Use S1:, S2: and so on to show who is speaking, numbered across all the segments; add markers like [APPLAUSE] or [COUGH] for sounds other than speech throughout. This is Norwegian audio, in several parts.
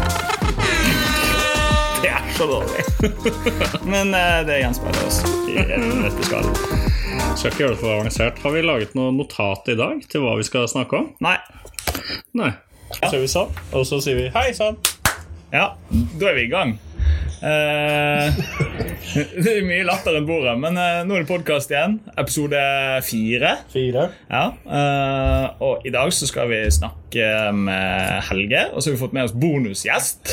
S1: [LAUGHS] Det er så dårlig. men eh, det gjenspeiler oss i en nøtteskall.
S2: Skal ikke gjøre det for avansert. Har vi laget noe notat i dag til hva vi skal snakke om?
S1: Nei.
S2: Nei. Så sier vi sånn, og så sier vi hei sann.
S1: Ja, da er vi i gang. Eh, [LAUGHS] det er mye latter enn bordet, men eh, nå er det podkast igjen. Episode fire.
S2: Fire.
S1: Ja, eh, og i dag så skal vi snakke med Helge, og så har vi fått med oss bonusgjest.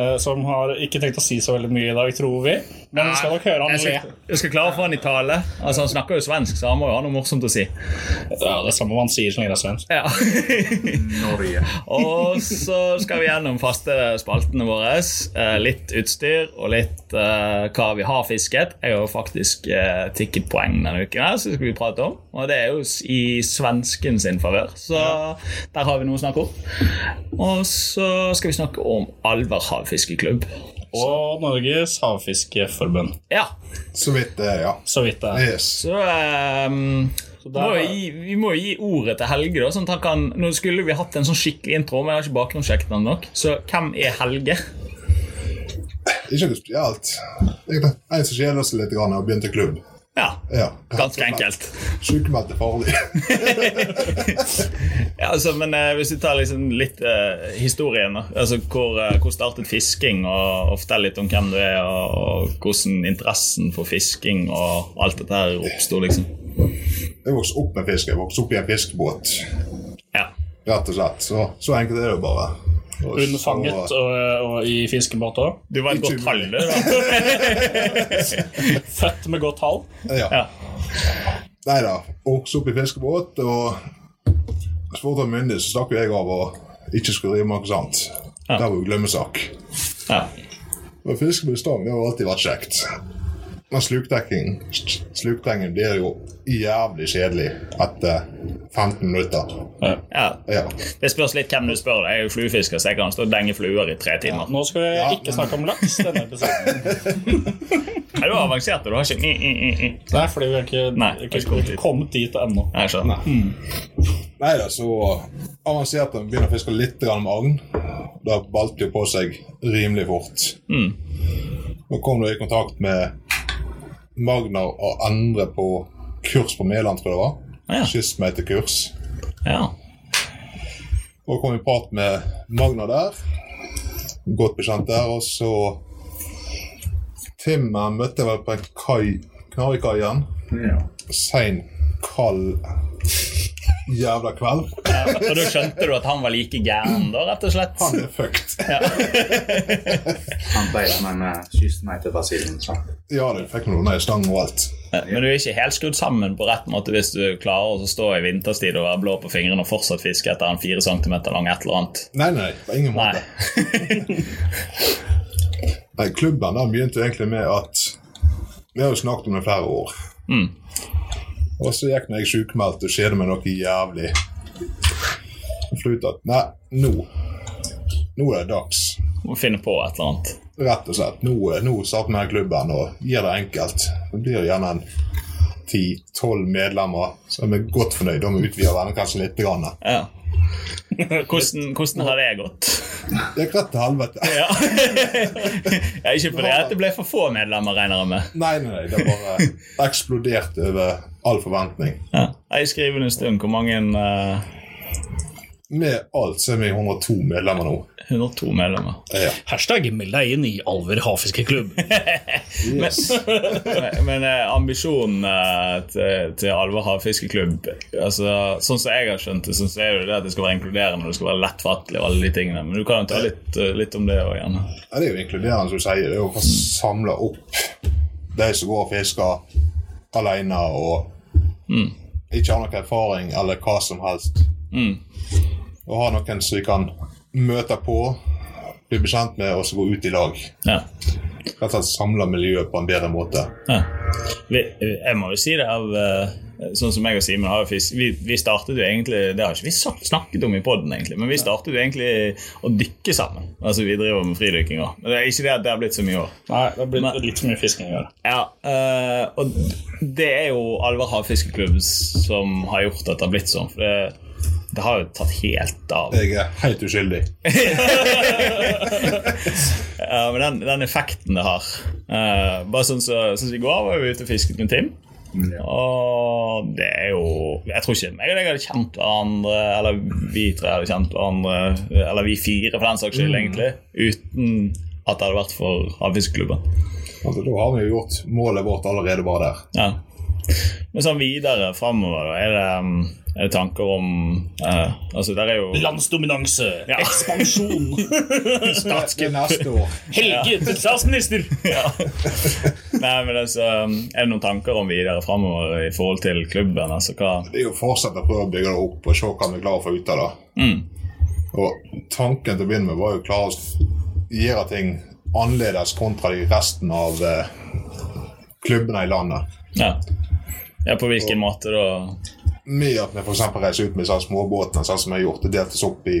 S2: Eh, som har ikke tenkt å si så veldig mye i dag, tror vi. Men vi skal nok høre han
S1: jeg
S2: le.
S1: skal, jeg skal klare å få han i tale. Altså, han snakker jo svensk, så han må jo ha noe morsomt å si.
S2: Ja, det er samme hva han sier så lenge det er svensk.
S1: Ja. og så skal vi gjennom faste spaltene våre. Eh, Litt utstyr og litt eh, hva vi har fisket. Jeg har jo faktisk eh, tikket poeng denne uken, her, så det skal vi prate om. Og det er jo s- i svensken sin favør, så der har vi noe å snakke om. Og så skal vi snakke om Alver havfiskeklubb.
S2: Og Norges Havfiskeforbund.
S1: Ja,
S3: Så vidt det, ja.
S2: Så vidt det er.
S3: Yes.
S1: så ehm,
S2: der-
S1: må jo gi, Vi må jo gi ordet til Helge, da. Sånn at han kan, nå skulle vi hatt en sånn skikkelig intro, men jeg har ikke bakgrunnssjekket den nok. Så hvem er Helge?
S3: Ikke noe spesielt. Egentlig En som kjeder seg litt grann og begynte i klubb.
S1: Ja,
S3: Ja.
S1: ganske enkelt.
S3: Sjukmeldt er farlig. [LAUGHS]
S1: Ja, altså, men eh, Hvis du tar liksom litt eh, historien, da. altså hvor, eh, hvor startet fisking, og, og fortell litt om hvem du er, og, og hvordan interessen for fisking og alt dette her oppsto, liksom.
S3: Jeg vokste opp med fisk. Jeg vokste opp i en fiskebåt,
S1: Ja.
S3: rett og slett. Så, så enkelt er det jo bare. Og
S2: Unnfanget
S3: så-
S2: og, og i fiskebåt òg.
S1: Du var et godt
S3: Utrolig.
S1: tall, du. da.
S2: Født med godt hall.
S3: Ja.
S1: Ja.
S3: Nei da. Vokste opp i fiskebåt, og så fort jeg var myndig, så stakk jo jeg av og ikke skulle drive med noe sånt.
S1: Ja.
S3: Det var jo glemmesak.
S1: Ja.
S3: Men fiske med stang det har jo alltid vært kjekt. Men slukdekking Slukdengen blir jo jævlig kjedelig etter 15 minutter.
S1: ja.
S3: Ja.
S1: Det spørs litt hvem du spør. da. Jeg er jo fluefisker, så jeg kan stå og denge fluer i tre timer.
S2: Nå skal vi
S3: Ja,
S2: ikke
S3: men-
S2: snakke om laks denne episoden.
S1: Nei, du er avansert, og du har ikke mm, mm, mm, mm.
S2: [LAUGHS] Nei, fordi vi har ikke,
S1: Nei,
S2: ikke,
S1: vi skal dit.
S2: kommet dit ennå.
S1: Nei, jeg skjønner.
S3: Nei da, så avanserte han begynner å fiske litt grann med agn. Da balte det jo på seg rimelig fort. Nå kom du i kontakt med Magnar og andre på kurs på Mæland, tror jeg det var.
S1: Ah, ja.
S3: Kystmeiterkurs.
S1: Ja.
S3: Og kom i prat med Magna der. Godt bekjent der. Og så Timmer møtte jeg vel på en kai Knarvikaien. Sein, kald jævla kveld.
S1: Og da skjønte du at han var like gæren, da, rett og slett?
S3: Han er fucked.
S4: Han beit meg med kysten meg til basillen. Så.
S3: Ja, du fikk noe nei, stang og alt.
S1: Men du er ikke helt skrudd sammen på rett måte hvis du klarer å stå i vinterstid og være blå på fingrene og fortsatt fiske etter en fire centimeter lang et eller annet.
S3: Nei, nei, på ingen
S1: Nei.
S3: måte. Nei, klubben da begynte jo egentlig med at Vi har jo snakket om det i flere år. Og så gikk når jeg sjukmeldt og kjedet meg noe jævlig. Og fant ut at nei, nå Nå er det dags.
S1: Må finne på et eller annet.
S3: Rett og slett. Nå, nå starter vi den klubben og gir det enkelt. Det blir gjerne en 10-12 medlemmer som er godt fornøyd. Da må vi utvide vennekretsen litt. Grann.
S1: Ja. Hvordan, hvordan har det gått?
S3: Det gikk rett til helvete.
S1: Ja. Jeg er ikke fordi at det ble for få medlemmer, regner jeg med.
S3: Nei, nei, nei, det bare eksploderte over all forventning.
S1: Ja. Jeg skriver en stund hvor mange eh,
S3: Med alt så er vi 102 medlemmer nå.
S1: 102 medlemmer.
S3: Ja.
S2: Hashtag meld deg inn i Alver havfiskeklubb.
S3: Yes.
S1: Men- Men eh, ambisjonen eh, til, til Alvor havfiskeklubb altså, Sånn som jeg har skjønt det, sånn så er det jo det at det skal være inkluderende og det skal være lettfattelig. og alle de tingene Men du kan jo ta litt, eh, litt om det òg, gjerne.
S3: Ja, det er jo inkluderende, som du sier. Det er jo å få samla opp de som går og fisker alene og ikke har noen erfaring eller hva som helst. Og ha noen som vi kan møte på, bli bekjent med og så gå ut i lag.
S1: Ja.
S3: rett og slett samler miljøet på en bedre måte.
S1: Ja. Vi, eh, jeg må jo si det av eh, Sånn som jeg og Simen har jo fisk vi, vi startet jo egentlig Det har ikke vi sa- snakket om i podden egentlig Men vi startet jo egentlig å dykke sammen Altså vi driver med fridykking også Men det er ikke det at det har blitt så mye år
S2: [LAUGHS] Nei, det har blitt litt for mye fisking i år.
S1: ja, eh, og det er jo Alver Havfiskeklubb som har gjort at det har blitt sånn For det, det har jo tatt helt av
S3: Jeg er helt uskyldig.
S1: Ja, men den, den effekten det har eh, Bare sånn som sånn som i går var vi ute og fisket med Tim Og det er jo Jeg tror ikke jeg og deg hadde kjent hverandre Eller vi tre hadde kjent hverandre Eller vi fire for den saks skyld egentlig Uten at det hadde vært for Havfiskeklubben
S3: Altså, da har vi jo gjort målet vårt allerede bare der.
S1: ja. Men sånn videre fremover da, Er det, mm, er det tanker om eh, Altså der er jo
S2: Landsdominanse, ekspansjon, [LAUGHS]
S3: Det er neste år.
S2: Helge til statsminister!
S1: [LAUGHS] ja. Nei, men altså Er det noen tanker om videre fremover I forhold til klubben Altså hva
S3: Det er jo å fortsette å prøve å bygge det opp og se hva vi klarer å få ut av det. Og tanken til å begynne med var jo å klare å gjøre ting annerledes kontra de resten av eh, klubbene i landet.
S1: Ja. ja, på hvilken måte da?
S3: Med at vi for eksempel reiser ut med sånn småbåtene, sånn som vi har gjort, det deltes opp i,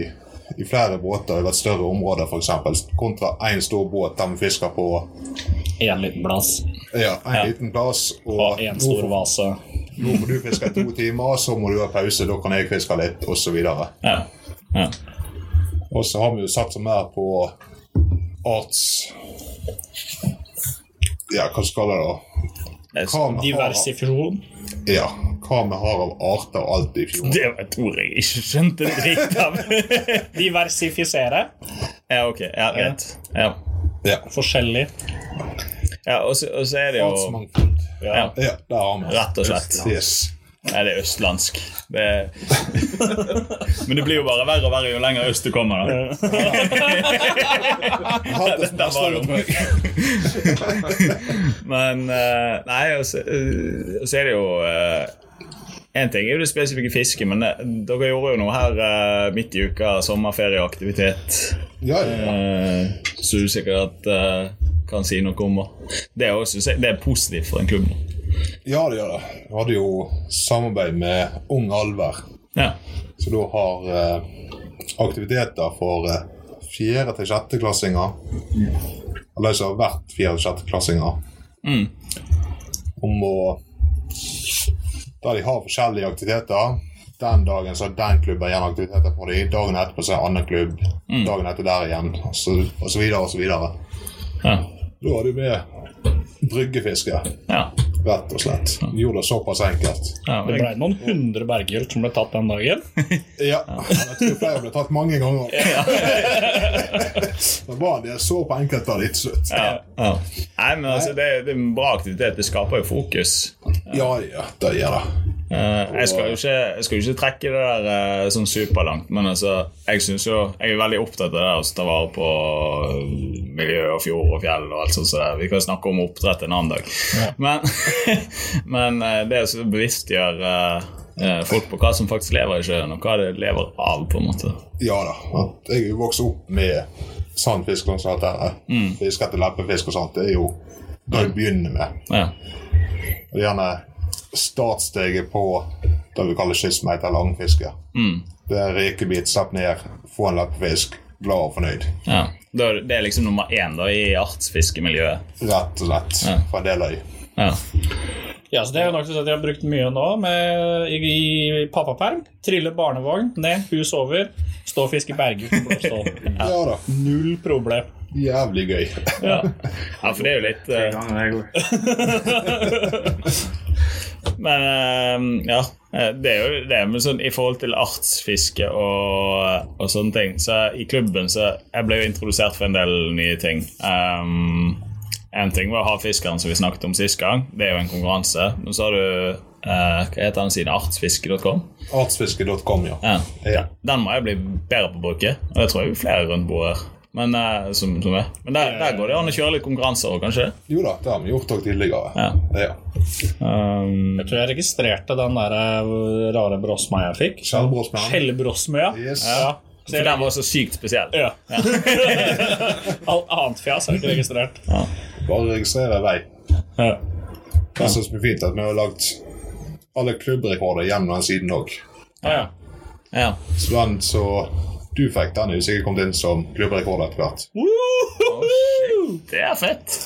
S3: i flere båter over et større område, for eksempel, kontra én stor båt der vi fisker på
S2: Én liten plass
S3: ja, en liten plass.
S2: og
S3: Og
S2: én
S3: nå,
S2: stor vase.
S3: nå må du fiske i to timer, så må du ha pause, da kan jeg fiske litt, osv.
S1: Ja. Ja.
S3: Og så har vi jo satsa mer på arts... Ja, hva skal det da?
S1: Det,
S3: Hva vi har av-
S2: Diversifisjon.
S3: Ja, hva vi har av arter og alt i
S1: [LAUGHS]
S3: fjorden.
S1: det var et ord jeg ikke skjønte en dritt av.
S2: Diversifisere.
S1: ja, ok. Ja, greit. Ja.
S3: Ja.
S2: Forskjellig.
S1: Ja, og så og så er det jo
S3: Artsmangfold.
S1: ja,
S3: Ja, der har vi det.
S1: Rett og slett.
S3: Yes.
S1: Nei, det er østlandsk. Det [LAUGHS] er... Men det blir jo bare verre og verre jo lenger øst du kommer. da. Der var [LAUGHS] det oppe. [LAUGHS] Men eh, Nei, og så eh, og så er det jo Én ting er jo det spesifikke fisket, men eh, dere gjorde jo noe her eh, midt i uka. Sommerferieaktivitet.
S3: Ja, ja.
S1: Eh, Så du sikkert eh, kan si noe om det. Det er, også, det er positivt for en klubb.
S3: ja, det gjør det. Vi hadde jo samarbeid med Ung Alver,
S1: Ja.
S3: så da har eh, aktiviteter for eh, fjerde- til sjetteklassinger Eller de som har vært fjerde- til sjetteklassinger,
S1: Mm.
S3: om å Der de har forskjellige aktiviteter. Den dagen så har den klubben igjen aktiviteter for dem. Dagen etterpå så er det en annen klubb.
S1: Mm.
S3: Dagen etter der igjen, og så, og så videre og så videre.
S1: Ja.
S3: Da er det med bryggefiske,
S1: ja.
S3: rett og slett. Gjorde det såpass enkelt.
S1: ja.
S2: Det
S1: men-
S2: ble noen hundre berghylt som ble tatt den [LAUGHS] dagen.
S3: Ja. Jeg tror flere ble tatt mange [LAUGHS] ganger. det var det jeg så på enkelte av de til slutt.
S1: Ja. Ja. Nei, men altså, det, det er en bra aktivitet. Det skaper jo fokus.
S3: Ja, ja, det gjør det.
S1: Eh, jeg, skal jo ikke, jeg skal jo ikke trekke det der eh, sånn superlangt, men altså, jeg, synes jo, jeg er veldig opptatt av det der å ta vare på eh, miljø og fjord og fjell og alt sånt. Så der. Vi kan snakke om oppdrett en annen dag. Men, [LAUGHS] men eh, det å så bevisstgjøre eh, folk på hva som faktisk lever i sjøen, og hva det lever av, på en måte.
S3: Ja da. At Jeg er jo vokst opp med sandfisk og sånt. der. eh. Fisk etter leppefisk og sånt. Det er jo det vi begynner med.
S1: Ja.
S3: Og gjerne startsteget på det vi kaller kystmeite eller langfiske. Det er rekebit, stapp ned, få en leppefisk, glad og fornøyd.
S1: ja. Da er Det det er liksom nummer én da, i artsfiskemiljøet.
S3: Rett og slett. For en del øy.
S1: Ja.
S2: Ja, så Det er jo nok til at jeg har brukt mye nå med, i, i pappaperm. Trille barnevogn ned, hus over, stå og fiske berghylt på blåstål. [LAUGHS]
S3: Ja da.
S2: Null problem.
S3: Jævlig gøy. [LAUGHS]
S2: Ja.
S1: ja, for det er jo litt eh,
S4: Ja,
S1: Men eh, ja, eh, det er jo det men sånn, I forhold til artsfiske og, og sånne ting Så i klubben så Jeg ble jo introdusert for en del nye ting um, En ting var havfiskeren som vi snakket om sist gang Det er jo en konkurranse Men så har du, eh, hva heter den siden? Artsfiske.com
S3: Artsfiske.com, ja.
S1: ja.
S3: Ja.
S1: Den må jeg bli bedre på å bruke Og jeg tror jeg er flere rundt bordet men, eh, som, som er. men der, der går det an å kjøre litt konkurranser også, kanskje
S3: Jo da, det har vi gjort også tidligere.
S1: Ja.
S3: Ja.
S1: um,
S2: Jeg tror jeg registrerte den der eh, rare brosma jeg fikk.
S3: Skjellbrosmann.
S2: Skjellbrosmøya.
S3: Yes.
S2: Ja. Så
S1: For
S2: jeg,
S1: den var så sykt spesiell
S2: [LAUGHS] ja. Alt annet fjas er ikke registrert.
S3: Bare registrer deg vei.
S2: Ja.
S3: Jeg synes det er fint at vi har lagt alle klubbrekorder gjennom den siden òg.
S2: Ja, ja.
S1: Ja.
S3: Så den så du fikk, den er jo sikkert kommet inn som klubbrekord etter hvert.
S1: Det er fett.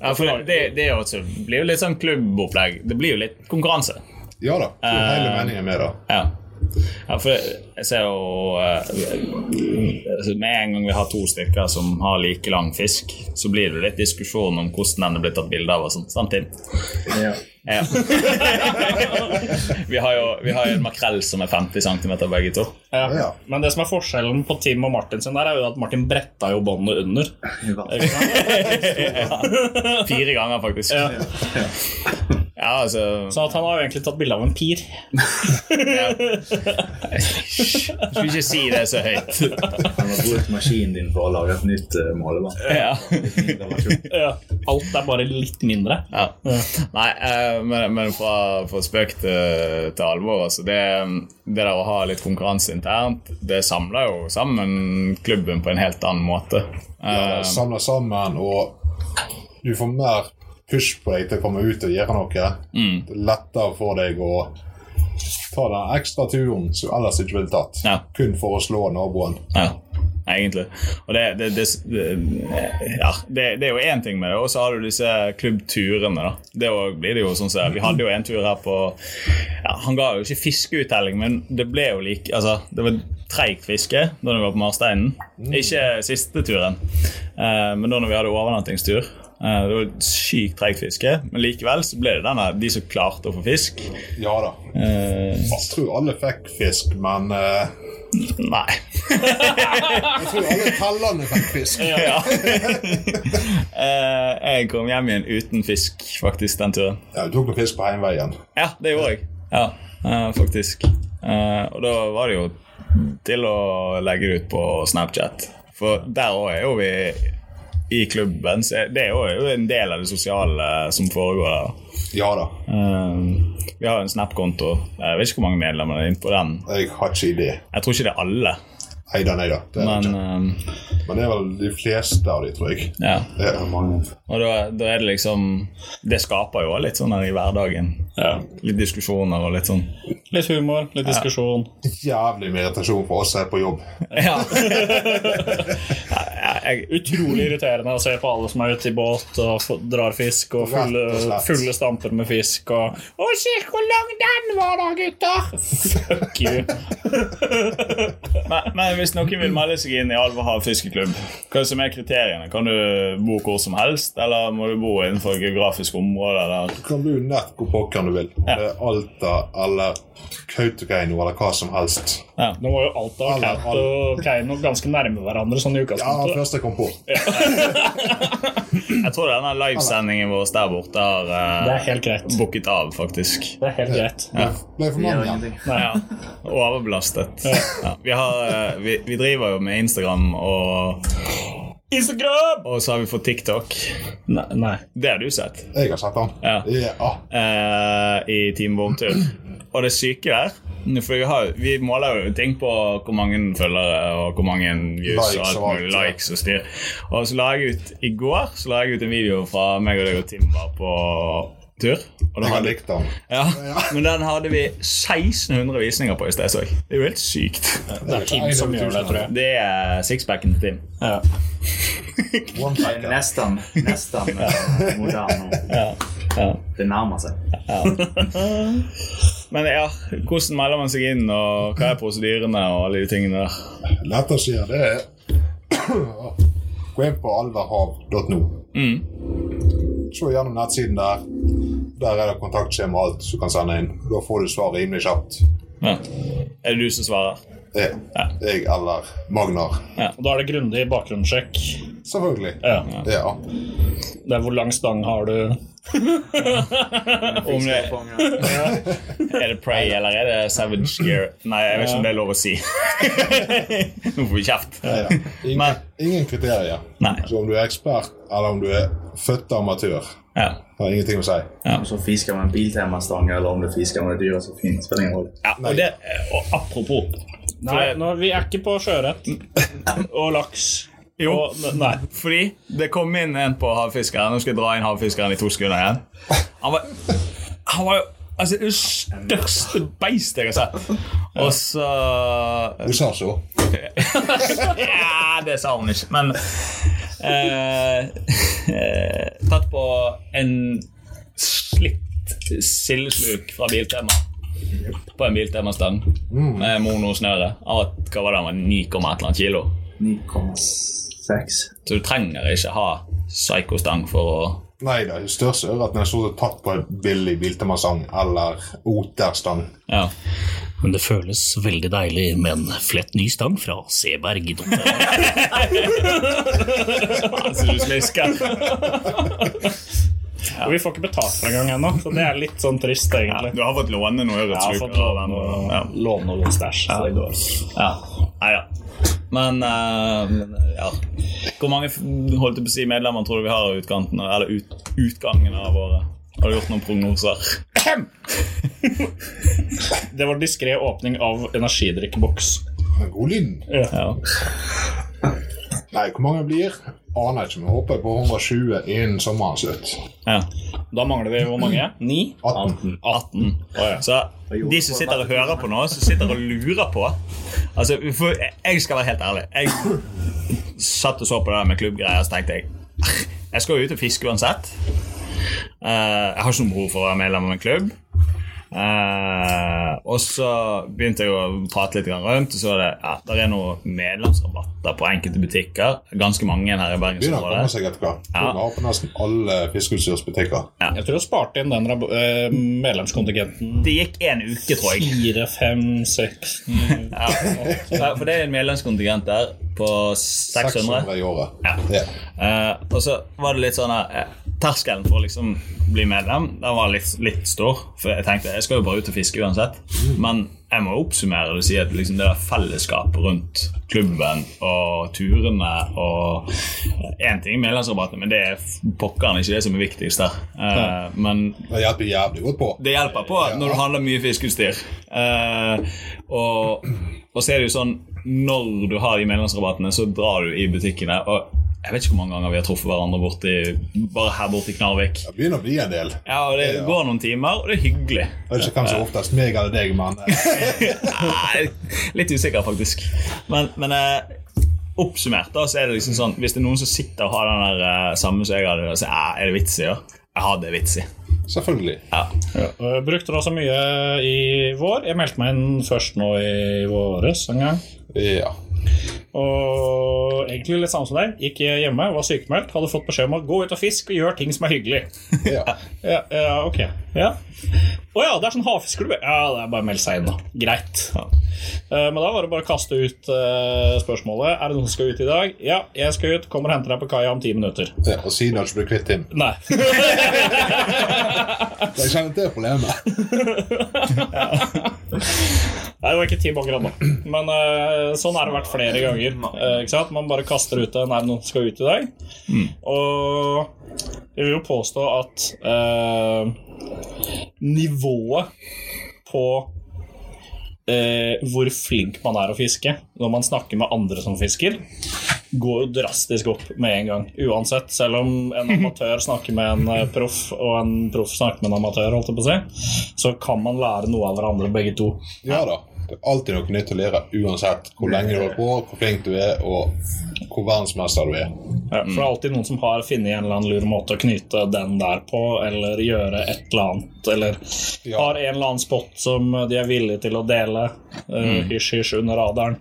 S1: Ja, for det, det, det er også, blir jo litt sånn klubbopplegg. Det blir jo litt konkurranse.
S3: Ja da. Det er
S1: Eh,
S3: hele meningen med det.
S1: Ja. ja, for jeg ser jo eh, altså, Med en gang vi har to stykker som har like lang fisk, så blir det litt diskusjon om hvordan den er blitt tatt bilde av og sånt samtidig.
S4: Ja.
S1: Ja. [LAUGHS] vi har jo vi har jo en makrell som er 50 cm begge to.
S3: Ja.
S2: Men det som er forskjellen på Tim og Martin sin der, er jo at Martin bretta jo båndet under. Ikke sant?
S1: Fire ganger, faktisk. Ja, altså
S2: Så at han har jo egentlig tatt bilde av en
S3: [LAUGHS]
S2: pir.
S1: Skulle ikke si det så høyt.
S4: Han har brukt maskinen din for å lage et nytt eh, målebånd.
S1: Ja.
S4: Det var ikke-
S2: Ja. Alt er bare litt mindre.
S1: Ja. Nei, eh, men, men fra, fra spøk til, til alvor, altså. Det, det der å ha litt konkurranse internt, det samler jo sammen klubben på en helt annen måte. Eh,
S3: Samle sammen, og du får mer push på deg til å komme ut og gjøre noe.
S1: Mm.
S3: Det er lettere for deg å ta den ekstra turen som ellers ikke ville tatt,
S1: Ja.
S3: kun for å slå naboen.
S1: Ja, egentlig. Og det, det, det, det, ja, det, det er jo én ting med det, og så har du disse klubbturene. da. Det også blir det jo sånn som- Vi hadde jo en tur her på ja, Han ga jo ikke fiskeuttelling, men det ble jo like altså, Det var treigt fiske da vi var på Marsteinen. Ikke siste turen, eh, men da når vi hadde overnattingstur. eh, Det var sykt treigt fiske, men likevel så ble det denne, de som klarte å få fisk.
S3: Ja da.
S1: Eh,
S3: Jeg tror alle fikk fisk, men eh,
S1: nei.
S3: jeg tror alle tellerne fikk fisk.
S1: Ja. [LAUGHS] Eh, jeg kom hjem igjen uten fisk, faktisk, den turen.
S3: Ja, du tok noe fisk på heimveien.
S1: Ja, det gjorde jeg. Ja, eh, faktisk. Eh, og da var det jo til å legge det ut på Snapchat. For der òg er jo vi i klubben, så er- det er jo- er jo en del av det sosiale eh, som foregår der.
S3: Ja da.
S1: Eh, vi har jo en Snap-konto. Eh, Jeg vet ikke hvor mange medlemmer det er inne på den.
S3: Jeg har ikke idé.
S1: Jeg tror ikke det er alle,
S3: Nei da, nei da. Det er
S1: men
S3: det ikke.
S1: eh,
S3: men det er vel de fleste av de, tror jeg.
S1: ja.
S3: Ja.
S1: Og da, da er det liksom Det skaper jo også litt sånn her i hverdagen.
S2: Ja.
S1: Litt diskusjoner og litt
S2: [LAUGHS]
S1: sånn.
S2: Litt humor, litt diskusjon.
S3: Jævlig mye irritasjon for oss her på jobb.
S1: Ja.
S2: Utrolig irriterende å se på alle som er ute i båt og f- drar fisk og
S3: Rett
S2: fulle,
S3: og slett.
S2: fulle stamper med fisk og Å, se hvor lang den var, da,
S3: [LAUGHS]
S2: gutter! Fuck you.
S1: Men, men hvis noen vil melde seg inn i Alverhav fiskeklubb, hva er det som er kriteriene? Kan du bo hvor som helst, eller må du bo innenfor geografisk område? Eller?
S3: Du kan bo nett hvor pokker du vil. Om det er Alta eller Kautokeino eller hva som helst.
S2: Nå var jo Alta og
S3: Alle-
S2: Kautokeino og Keiino ganske nærme hverandre sånn i
S3: Ja,
S2: utgangspunktet.
S3: først jeg kom på.
S1: Jeg tror denne livesendingen vår der borte har eh,
S2: Det er helt greit.
S1: bukket av, faktisk.
S2: Det er helt greit.
S3: Ble for
S4: Det
S3: mange
S4: gjør
S3: igjen.
S4: ingenting.
S1: Ja. Overbelastet. Ja. Vi, har, eh, vi, vi driver jo med Instagram, og,
S2: Instagram!
S1: og så har vi fått TikTok.
S2: Nei. nei.
S1: Det har du sett.
S3: Jeg har sett den.
S1: Ja.
S3: Ja. Ah,
S1: eh, i Team Vormtur. Og det syke der for vi, har, vi måler jo ting på hvor mange følgere og hvor mange views
S3: Likes
S1: og alt
S3: og alt,
S1: mulig.
S3: ja.
S1: Likes og styr. Og så la jeg ut i går så la jeg ut en video fra meg og deg og Tim var på tur. Og den
S3: Jeg har
S1: hadde,
S3: likt den.
S1: ja, men den hadde vi 1600 visninger på i sted. Så jeg. Det er jo helt sykt.
S2: Det er Kim som gjør det, tror jeg.
S1: Det er sixpacken til Tim.
S2: Ja.
S3: One
S4: Det er
S3: packer.
S4: Nesten, nesten eh,
S3: [LAUGHS]
S4: moderne. Det nærmer seg.
S1: Men ja, hvordan melder man seg inn, og hva er prosedyrene og alle de tingene der?
S3: Lett å si det er [CLEARS THROAT] Gå inn på alverhav.no. Se gjennom nettsiden der. Der er det kontaktskjema og alt du kan sende inn. Da får du svar rimelig kjapt.
S1: Ja. Er det du som svarer?
S3: Jeg, jeg eller Magnar.
S2: Og Da er det grundig bakgrunnssjekk.
S3: Selvfølgelig.
S2: Ja.
S3: Ja.
S2: Det er hvor lang stang har du?
S1: Om det, Er det Prey eller er det Savage Gear? Nei, jeg vet ikke om det er lov å si. [LAUGHS] Nå får vi kjeft.
S3: Neida. Ingen,
S1: Men-
S3: ingen kriterier.
S1: Nei.
S3: Så om du er ekspert, eller om du er født amatør,
S1: Ja.
S3: har ingenting å si.
S4: Om så fisker med en biltemastang, eller om du fisker med det dyret som finnes. Spiller ingen rolle.
S1: ja og, det, og apropos
S2: Nei, nå, vi er ikke på sjøørret [COUGHS] og laks
S1: Jo,
S2: Og, ne- nei.
S1: fordi det kom inn en på havfiskeren. Nå skal jeg dra inn havfiskeren i to sekunder igjen. Han var, han var jo altså, det største beistet jeg har sett. Og så
S3: Hun sa så.
S1: Ja, det sa hun ikke, men eh, eh, Tatt på en slitt sildesluk fra Biltema. På en Biltema-stang med monosnøre. Av at- Hva var det, han var 9,1 eller annet kilo?
S4: 9,6.
S1: Så du trenger ikke ha psykostang for å
S3: Nei da, i største ørret, men stort sett tatt på en billig biltemmerstang eller oterstang.
S1: Ja.
S5: Men det føles veldig deilig med en flett ny stang fra Seberg.
S2: [LAUGHS]
S1: Altså, du smisker.
S2: Og vi får ikke betalt for engang ennå, så det er litt sånn trist, egentlig.
S1: Du har fått låne noe
S2: Jeg har fått låne noe,
S1: Ja.
S2: låne noe stæsj, så det går.
S1: Ja. Nei da. Men eh, men, ja. Hvor mange f- holdt jeg på å si, medlemmer tror du vi har av utkanten, eller ut, utgangen av året? Har du gjort noen prognoser?
S2: Det var diskré åpning av energidrikkeboks.
S3: Men god lyd.
S1: Ja.
S3: Nei, hvor mange blir? Aner ikke, men håper på 120 innen sommeren slutt.
S1: ja.
S2: Da mangler vi hvor mange? Ni?
S3: 18.
S1: 18. Så de som sitter og hører på nå, som sitter og lurer på Altså, for Jeg skal være helt ærlig. Jeg satt og så på det der med klubbgreier, så tenkte jeg "Ah, Jeg skal jo ut og fiske uansett. Eh, jeg har ikke noe behov for å være medlem av en klubb. Eh, og så begynte jeg å prate litt grann rundt, og så er det ja, der er noen medlemsrabatter på enkelte butikker. Ganske mange her i
S3: Begynner å komme
S1: Bergensområdet.
S3: seg etter hvert. Ja. Har på nesten alle fiskeutstyrsbutikker.
S2: Jeg tror jeg sparte inn den rab- eh, medlemskontingenten.
S1: Det gikk en uke, tror jeg.
S2: Fire, fem, seks ni.
S1: Ja. For- For det er en medlemskontingent der på 600.
S3: 600 i året.
S1: Ja.
S3: Ja.
S1: Eh, og så var det litt sånn her, eh, Terskelen for å liksom bli medlem Den var litt, litt stor. For jeg tenkte jeg skal jo bare ut og fiske uansett. Men jeg må oppsummere det og si at liksom det der fellesskapet rundt klubben og turene og Én ting er medlemsrabatten, men det er f- pokkeren ikke det som er viktigst der. Eh, Men
S3: Det hjelper jævlig godt på.
S1: det hjelper på når du handler mye fiskeutstyr. Eh, og, og så er det jo sånn når du har de medlemsrabattene, så drar du i butikkene. Og jeg vet ikke hvor mange ganger vi har truffet hverandre borti, bare her borte i Knarvik.
S3: Det begynner å bli en del.
S1: Ja, og Det
S3: Ja.
S1: går noen timer, og det er hyggelig.
S3: Jeg vet ikke hvem som oftest meg eller deg, men eh,
S1: Nei, litt usikker, faktisk. Men, men eh, oppsummert da, så er det liksom sånn hvis det er noen som sitter og har den der eh, samme som jeg hadde, så eh, er det vits i det. Ja, det er vits i.
S3: selvfølgelig.
S1: Ja.
S2: Eh, Brukte det også mye i vår. Jeg meldte meg inn først nå i våres en gang.
S3: Ja.
S2: Og egentlig litt samme som deg. Gikk hjemme, var sykemeldt, hadde fått beskjed om å gå ut og fiske og gjøre ting som er
S1: [LAUGHS]
S2: hyggelig.
S3: ja.
S2: Ja, ja ok. Ja. Å ja, det er sånn havfiskeklubb. Ja, det er bare å melde seg inn, da. Greit.
S1: Ja.
S2: Eh, Men da var det bare å kaste ut eh, spørsmålet. Er det noen som skal ut i dag? Ja, jeg skal ut. Kommer og henter deg på kaia om ti minutter.
S3: ja. Og siden har du ikke blitt kvitt him.
S2: Nei.
S3: Jeg kjenner til problemet.
S2: Nei, det var ikke Tim akkurat nå. Men eh, sånn har det vært flere ganger. eh, ikke sant? Man bare kaster ut en er det noen som skal ut i dag. Og jeg vil jo påstå at eh, nivået på eh, hvor flink man er å fiske når man snakker med andre som fisker, går jo drastisk opp med en gang. Uansett, selv om en amatør snakker med en eh, proff, og en proff snakker med en amatør, holdt jeg på å si, så kan man lære noe av hverandre, begge to.
S3: Ja da. Det er alltid noe nytt å lære, uansett hvor lenge du holder på, hvor flink du er, og hvor verdensmester du er.
S2: Ja,
S1: Mm.
S2: for det er alltid noen som har funnet en eller annen lur måte å knyte den der på, eller gjøre et eller annet, eller
S3: Ja.
S2: har en eller annen spot som de er villige til å dele. eh,
S1: Mm.
S2: Hysj, hysj under radaren.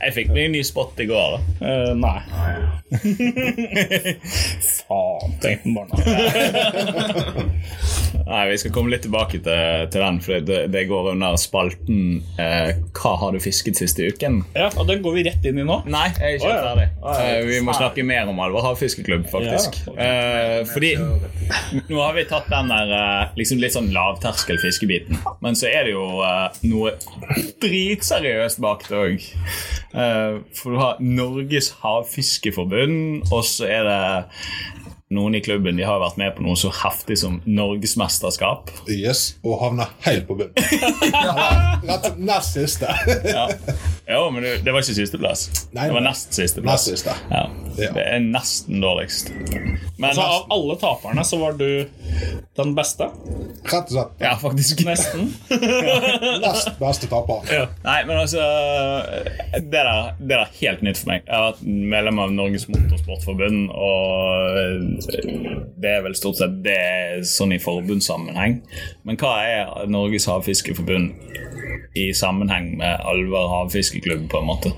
S1: Jeg fikk meg en ny spot i går. da
S2: Eh, nei. Faen, tenkte den barna.
S1: Nei, Vi skal komme litt tilbake til, til den, for det, det går under spalten eh, 'Hva har du fisket siste uken?'
S2: Ja, og den går vi rett inn i nå.
S1: Nei, jeg er ikke helt
S2: Å, ja.
S1: ferdig.
S2: Å, ja.
S1: Eh, vi må snakke mer om Alvor havfiskeklubb, faktisk.
S2: Ja.
S1: Eh, fordi [LAUGHS] nå har vi tatt den der eh, liksom litt sånn lavterskel fiskebiten. Men så er det jo eh, noe dritseriøst bak det òg. for du har Norges Havfiskeforbund, og så er det noen i klubben de har vært med på noe så heftig som norgesmesterskap.
S3: [LAUGHS] Yes, og havner helt på bunnen. Rett nest siste.
S1: Jo, men det, det var ikke sisteplass.
S3: Nei,
S1: Det var
S3: nei.
S1: nest sisteplass.
S3: Nest siste.
S1: Ja.
S3: Ja. Altså,
S1: Det er nesten dårligst. Men
S2: Så av alle taperne så var du den beste.
S3: Rett og slett
S1: ja, faktisk.
S3: [LAUGHS]
S2: Nesten.
S3: nest beste taper.
S1: Nei, men altså Det der, det der er helt nytt for meg. Jeg har vært medlem av Norges Motorsportforbund, og det er vel stort sett det er sånn i forbundssammenheng. Men hva er Norges Havfiskeforbund i sammenheng med Alver Havfiskeklubb, på en måte?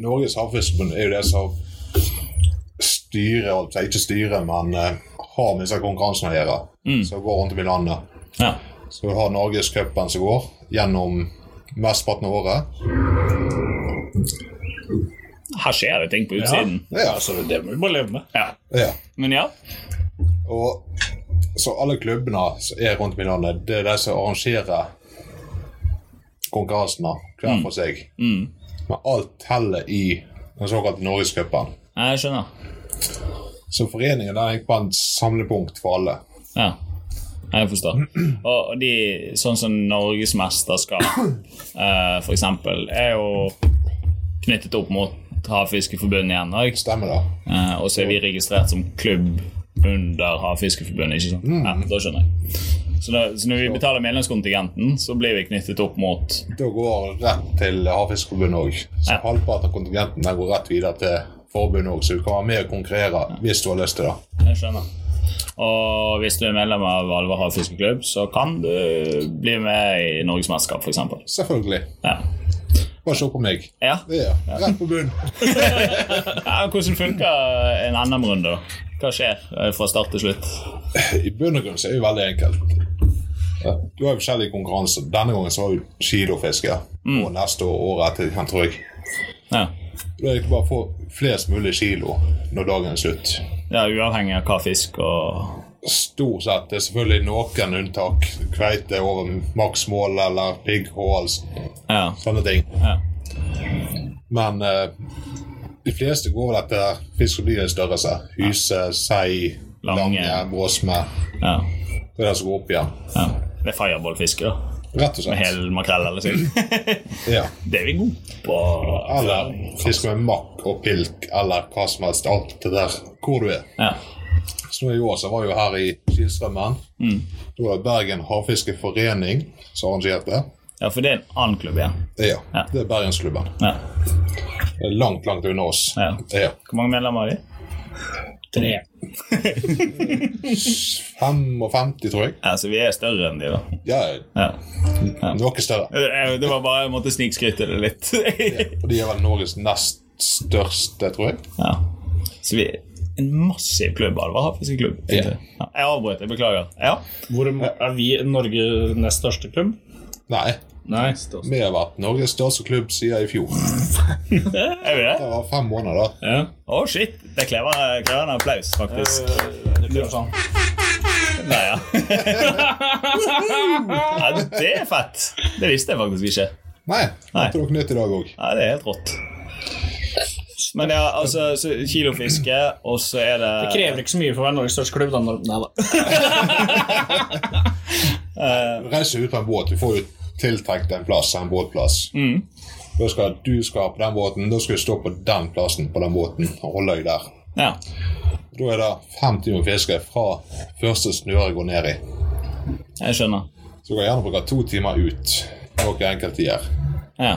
S3: Norges Havfiskforbund er jo det som styrer, altså ikke styrer, men eh, har med disse konkurransene å gjøre. Som går rundt om i landet.
S1: Ja.
S3: Så vi har Norgescupen som går gjennom mesteparten av året.
S1: Her skjer det ting på utsiden.
S3: Ja,
S2: Altså, det må vi bare leve med.
S1: Ja.
S3: ja.
S1: Men ja.
S3: Og så alle klubbene som er rundt om i landet, det er de som arrangerer konkurransene hver for seg. Men alt teller i den såkalte Norgescupen.
S1: Jeg skjønner.
S3: Så foreningen der gikk på en samlepunkt for alle.
S1: Ja, jeg forstår. Og de, sånn som Norgesmesterskap, eh, for eksempel, er jo knyttet opp mot Havfiskeforbundet igjen. og-
S3: Stemmer det?
S1: Eh, og så er vi registrert som klubb under Havfiskeforbundet, ikke sant? Ja, da skjønner jeg. Så, da, så når vi betaler medlemskontingenten, så blir vi knyttet opp mot
S3: Da går rett til Havfiskforbundet òg. Så
S1: Ja.
S3: halvparten av kontingenten der går rett videre til forbundet òg, så du kan være med og konkurrere hvis du har lyst til det.
S1: Jeg skjønner. Og hvis du er medlem av Alver Havfiskeklubb, så kan du bli med i Norgesmesterskap, f.eks.
S3: Selvfølgelig.
S1: Ja.
S3: Bare se på meg.
S1: ja.
S3: Ja, rett på bunn.
S1: Ja, hvordan funker en NM-runde? da? Hva skjer eh, fra start til slutt?
S3: I bunn og grunn så er det jo veldig enkelt. Ja. Du har jo forskjellige konkurranser. Denne gangen så var jo kilofiske.
S1: Mm.
S3: Og neste år året etter, igjen, tror jeg.
S1: Ja,
S3: Da er det bare å få flest mulig kilo når dagen er slutt.
S1: ja Uavhengig av hva fisk og
S3: Stort sett. Det er selvfølgelig noen unntak. Kveite over maksmål eller pigghål,
S1: Ja.
S3: sånne ting.
S1: ja.
S3: Men eh, de fleste går vel etter fisk som blir i størrelse. Hyse, sei,
S1: Lange.
S3: lange, bråsme.
S1: ja.
S3: Det er det som går opp igjen.
S1: ja. Det er fireballfiske, da.
S3: Rett
S1: Med
S3: og slett.
S1: hel makrell eller sild.
S3: Ja.
S1: Det er vi gode på.
S3: Eller fisk med makk og pilk eller hva som helst. Alt det der hvor du er.
S1: Ja.
S3: Så nå i år så var jeg jo her i Kilstrømmen.
S1: Mm.
S3: Da var det Bergen Havfiskeforening som arrangerte.
S1: ja, for det er en annen klubb igjen.
S3: Ja.
S1: Ja.
S3: Det er Bergensklubben.
S1: Ja.
S3: Det er Langt, langt unna oss.
S1: Ja.
S3: Ja.
S1: Hvor mange medlemmer har de?
S2: Tre.
S3: 55, tror jeg.
S1: Ja, Så vi er større enn de, da.
S3: Ja,
S1: Ja.
S3: noe større.
S1: Eh, Det var bare jeg måtte snikskryte det litt.
S3: [LAUGHS] Og de er vel Norges nest største, tror jeg.
S1: ja. Så vi er en massiv klubb, Alvar Havfiskeklubb.
S3: Ja.
S1: Ja. Jeg avbrøt, jeg beklager. Ja.
S2: Hvor er vi Norge nest største klubb?
S3: Nei.
S2: Nei.
S3: Vi har vært Norges største klubb siden i fjor.
S1: Er vi det?
S3: Det var fem måneder, da.
S2: Ja.
S1: Å, shit! Det krever, krever en applaus, faktisk. Nei,
S3: [LAUGHS]
S1: ja. ja. Det er fett! Det visste jeg faktisk ikke.
S3: Nei.
S1: Nei.
S3: Hørte dere nytt i dag òg?
S1: Ja, det er helt rått. Men ja, altså så kilofiske, og så er det
S2: Det krever ikke så mye for å være Norges største klubb. Da. Nor- Nei da.
S3: Reise ut på en båt. Du får jo tiltrekt en plass, en båtplass. Da skal du skal på den båten, da skal du stå på den plassen på den båten og holde deg der.
S1: Ja.
S3: Da er det fem timer fiske fra første snøre går ned i.
S1: Jeg skjønner.
S3: Så du kan gjerne bruke to timer ut, noe enkelte gjør.
S1: Ja.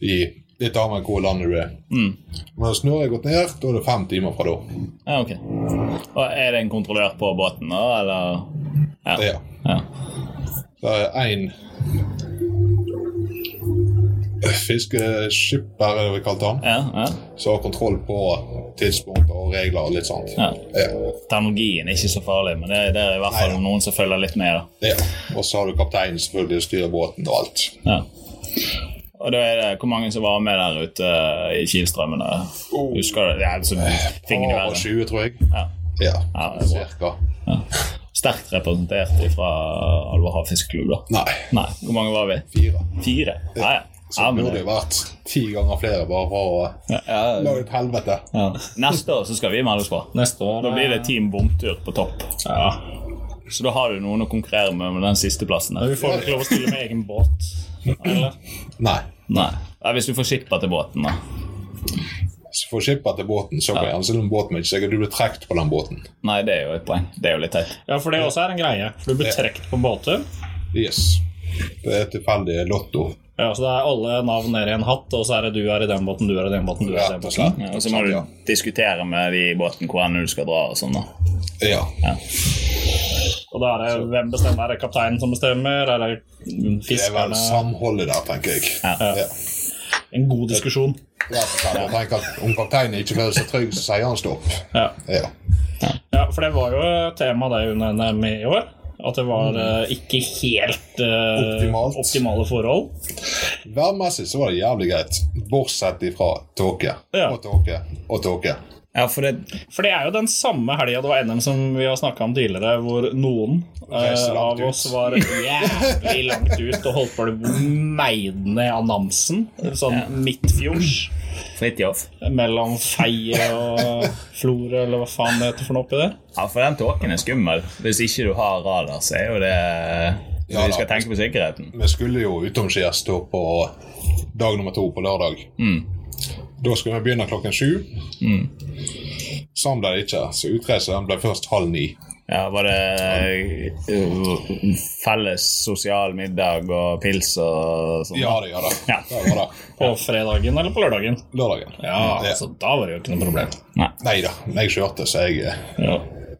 S3: I litt avhengig av hvor i landet du er. Men når snøret er gått ned, da er det fem timer fra da.
S1: ja, ok. Og er det en kontrollør på båten, da, eller?
S3: Ja.
S1: Ja.
S3: Det er én fiskeskipper, er det vi kalte han,
S1: Ja, ja.
S3: som har kontroll på tidspunkter og regler og litt sånt.
S1: Ja.
S3: Ja.
S1: Termologien er ikke så farlig, men det, det er i hvert fall
S3: Neida.
S1: noen som følger litt med. da.
S3: Ja. Og så har du kapteinen selvfølgelig og styrer båten og alt.
S1: Ja. Og da er det hvor mange som var med der ute eh, i Kilstrømmen? da?
S3: Oh.
S1: Husker du? Ja, altså, tingene
S3: Par og
S1: verre.
S3: 20, tror jeg.
S1: Ja.
S3: Ja,
S1: Ja, det er bra.
S3: cirka.
S1: Sterkt representert fra Alver Havfiskeklubb, da.
S3: Nei,
S1: Nei, hvor mange var vi?
S3: fire.
S1: Fire? Ja, ja.
S3: Så
S1: Ja, men
S3: burde
S1: det-
S3: det vært ti ganger flere bare for å
S1: ja,
S3: lage et helvete.
S1: ja. Neste år så skal vi melde oss på.
S2: Neste år
S1: Da blir det Team Bomtur på topp.
S2: Ja.
S1: Så da har du noen å konkurrere med med den siste plassen. Der.
S2: Vi får ikke lov å stille med egen båt. Eller?
S3: Nei.
S1: Nei. Ja, Hvis du får skippa til båten, da.
S3: Så får skipper til båten, så kan jeg anse den båten men ikke sikkert du blir trukket på den båten.
S1: Nei, det er jo et poeng. Det er jo litt teit.
S2: Ja, for det også er en greie. For du blir trukket på båter.
S3: Yes. Det er tilfeldig lotto,
S2: Ja, så det er alle navn ned i en hatt, og så er det du er i den båten, du er i den båten, du er i den
S3: rett og
S2: båten.
S3: slett.
S1: Ja, og så må du diskutere med de i båten hvor enn du skal dra og sånn, da.
S3: Ja.
S2: Og da er det hvem bestemmer? Er det kapteinen som bestemmer? Er det
S3: Det er vel
S2: fiskerne?
S3: samholdet der, tenker jeg. Ja.
S2: En god diskusjon.
S3: Rett og slett. Jeg tenker at Om kapteinen ikke føler seg trygg, så sier han stopp.
S2: Ja.
S3: Ja.
S2: ja, for det var jo et tema det under NM i år. At det var eh, ikke helt eh,
S3: Optimalt.
S2: optimale forhold.
S3: Værmessig så var det jævlig greit, bortsett ifra tåke
S2: Ja.
S3: og tåke og tåke.
S1: Ja, for det
S2: For det er jo den samme helga det var NM som vi har snakka om tidligere, hvor noen eh,
S3: Reiste langt
S2: av
S3: ut.
S2: oss var jævlig langt ut og holdt på å bli meidende av Namsen. Sånn midtfjords.
S1: Fridtjof.
S2: Mellom Feie og Florø, eller hva faen det heter for noe oppi der.
S1: Ja, for den tåken er skummel. Hvis ikke du har radar, så er jo det
S3: Ja,
S1: Vi skal
S3: da.
S1: tenke på sikkerheten.
S3: Vi skulle jo utomskjærs da på dag nummer to på lørdag.
S2: Mm.
S3: Da skulle vi begynne klokken sju. Sånn ble det ikke, så utreise den ble først halv ni.
S1: Ja, Var det eh, felles sosial middag og pils og sånn?
S3: Ja da, ja da.
S1: Ja.
S3: Det var det.
S2: På fredagen eller på lørdagen.
S3: Lørdagen.
S2: Ja, altså da var det jo ikke noe problem.
S1: Nei.
S3: Nei da, jeg kjørte, så jeg, eh,
S2: Ja.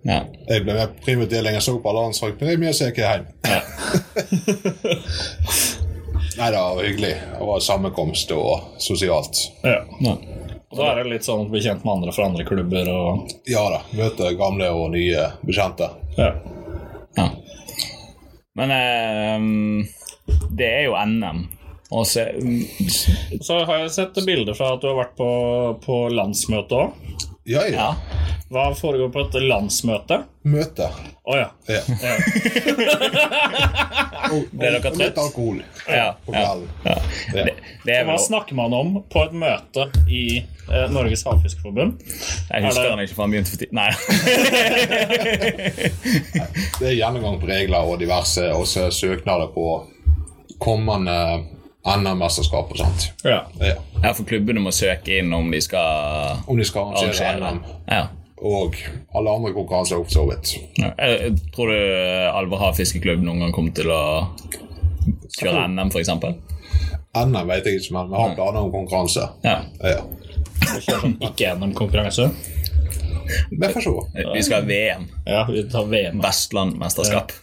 S1: Ja.
S3: jeg ble med på primutdeling. Jeg så på alle andre men jeg er med så jeg gikk hjem. [LAUGHS] Nei, det var hyggelig. Det var sammenkomst og sosialt.
S2: Ja.
S1: Ja.
S2: Og da er det litt sånn å bli kjent med andre fra andre klubber og
S3: Ja da, møte gamle og nye bekjente.
S2: ja.
S1: ja. Men eh, det er jo NM. Og så
S2: Så har jeg sett bilder fra at du har vært på, på landsmøte òg.
S3: Ja, ja.
S1: Ja.
S2: Hva foregår på et landsmøte?
S3: Møte.
S2: Å ja.
S3: Ja.
S2: Ja.
S3: [LAUGHS] Og,
S1: Ble dere
S3: og litt
S1: trøtt?
S3: alkohol
S1: Ja.
S3: på
S1: ja.
S3: kvelden. Ja.
S1: Det, det er
S2: Hva
S1: vel
S2: snakker man om på et møte i eh, Norges Havfiskeforbund?
S1: Jeg husker
S2: Er det-
S1: han ikke, for han begynte for tidlig. Nei. [LAUGHS]
S3: Det er gjennomgang på regler og diverse, og så er søknader på kommende NM-mesterskap og sånt.
S2: Ja.
S3: Ja.
S1: Ja, for klubbene må søke inn om de skal
S3: Om de skal arrangere
S1: arrangere.
S3: NM.
S1: Ja.
S3: Og alle andre konkurranser for så vidt.
S1: Ja. Jeg- jeg Tror du Alverhav fiskeklubb noen gang kommer til å kjøre NM, f.eks.?
S3: NM vet jeg ikke, men vi har planer om konkurranse.
S1: Ja.
S3: Ja.
S2: Ikke gjennom konkurranse.
S3: Vi får se.
S1: Vi skal ha VM.
S2: Ja, vi tar VM.
S1: Vestlandmesterskap.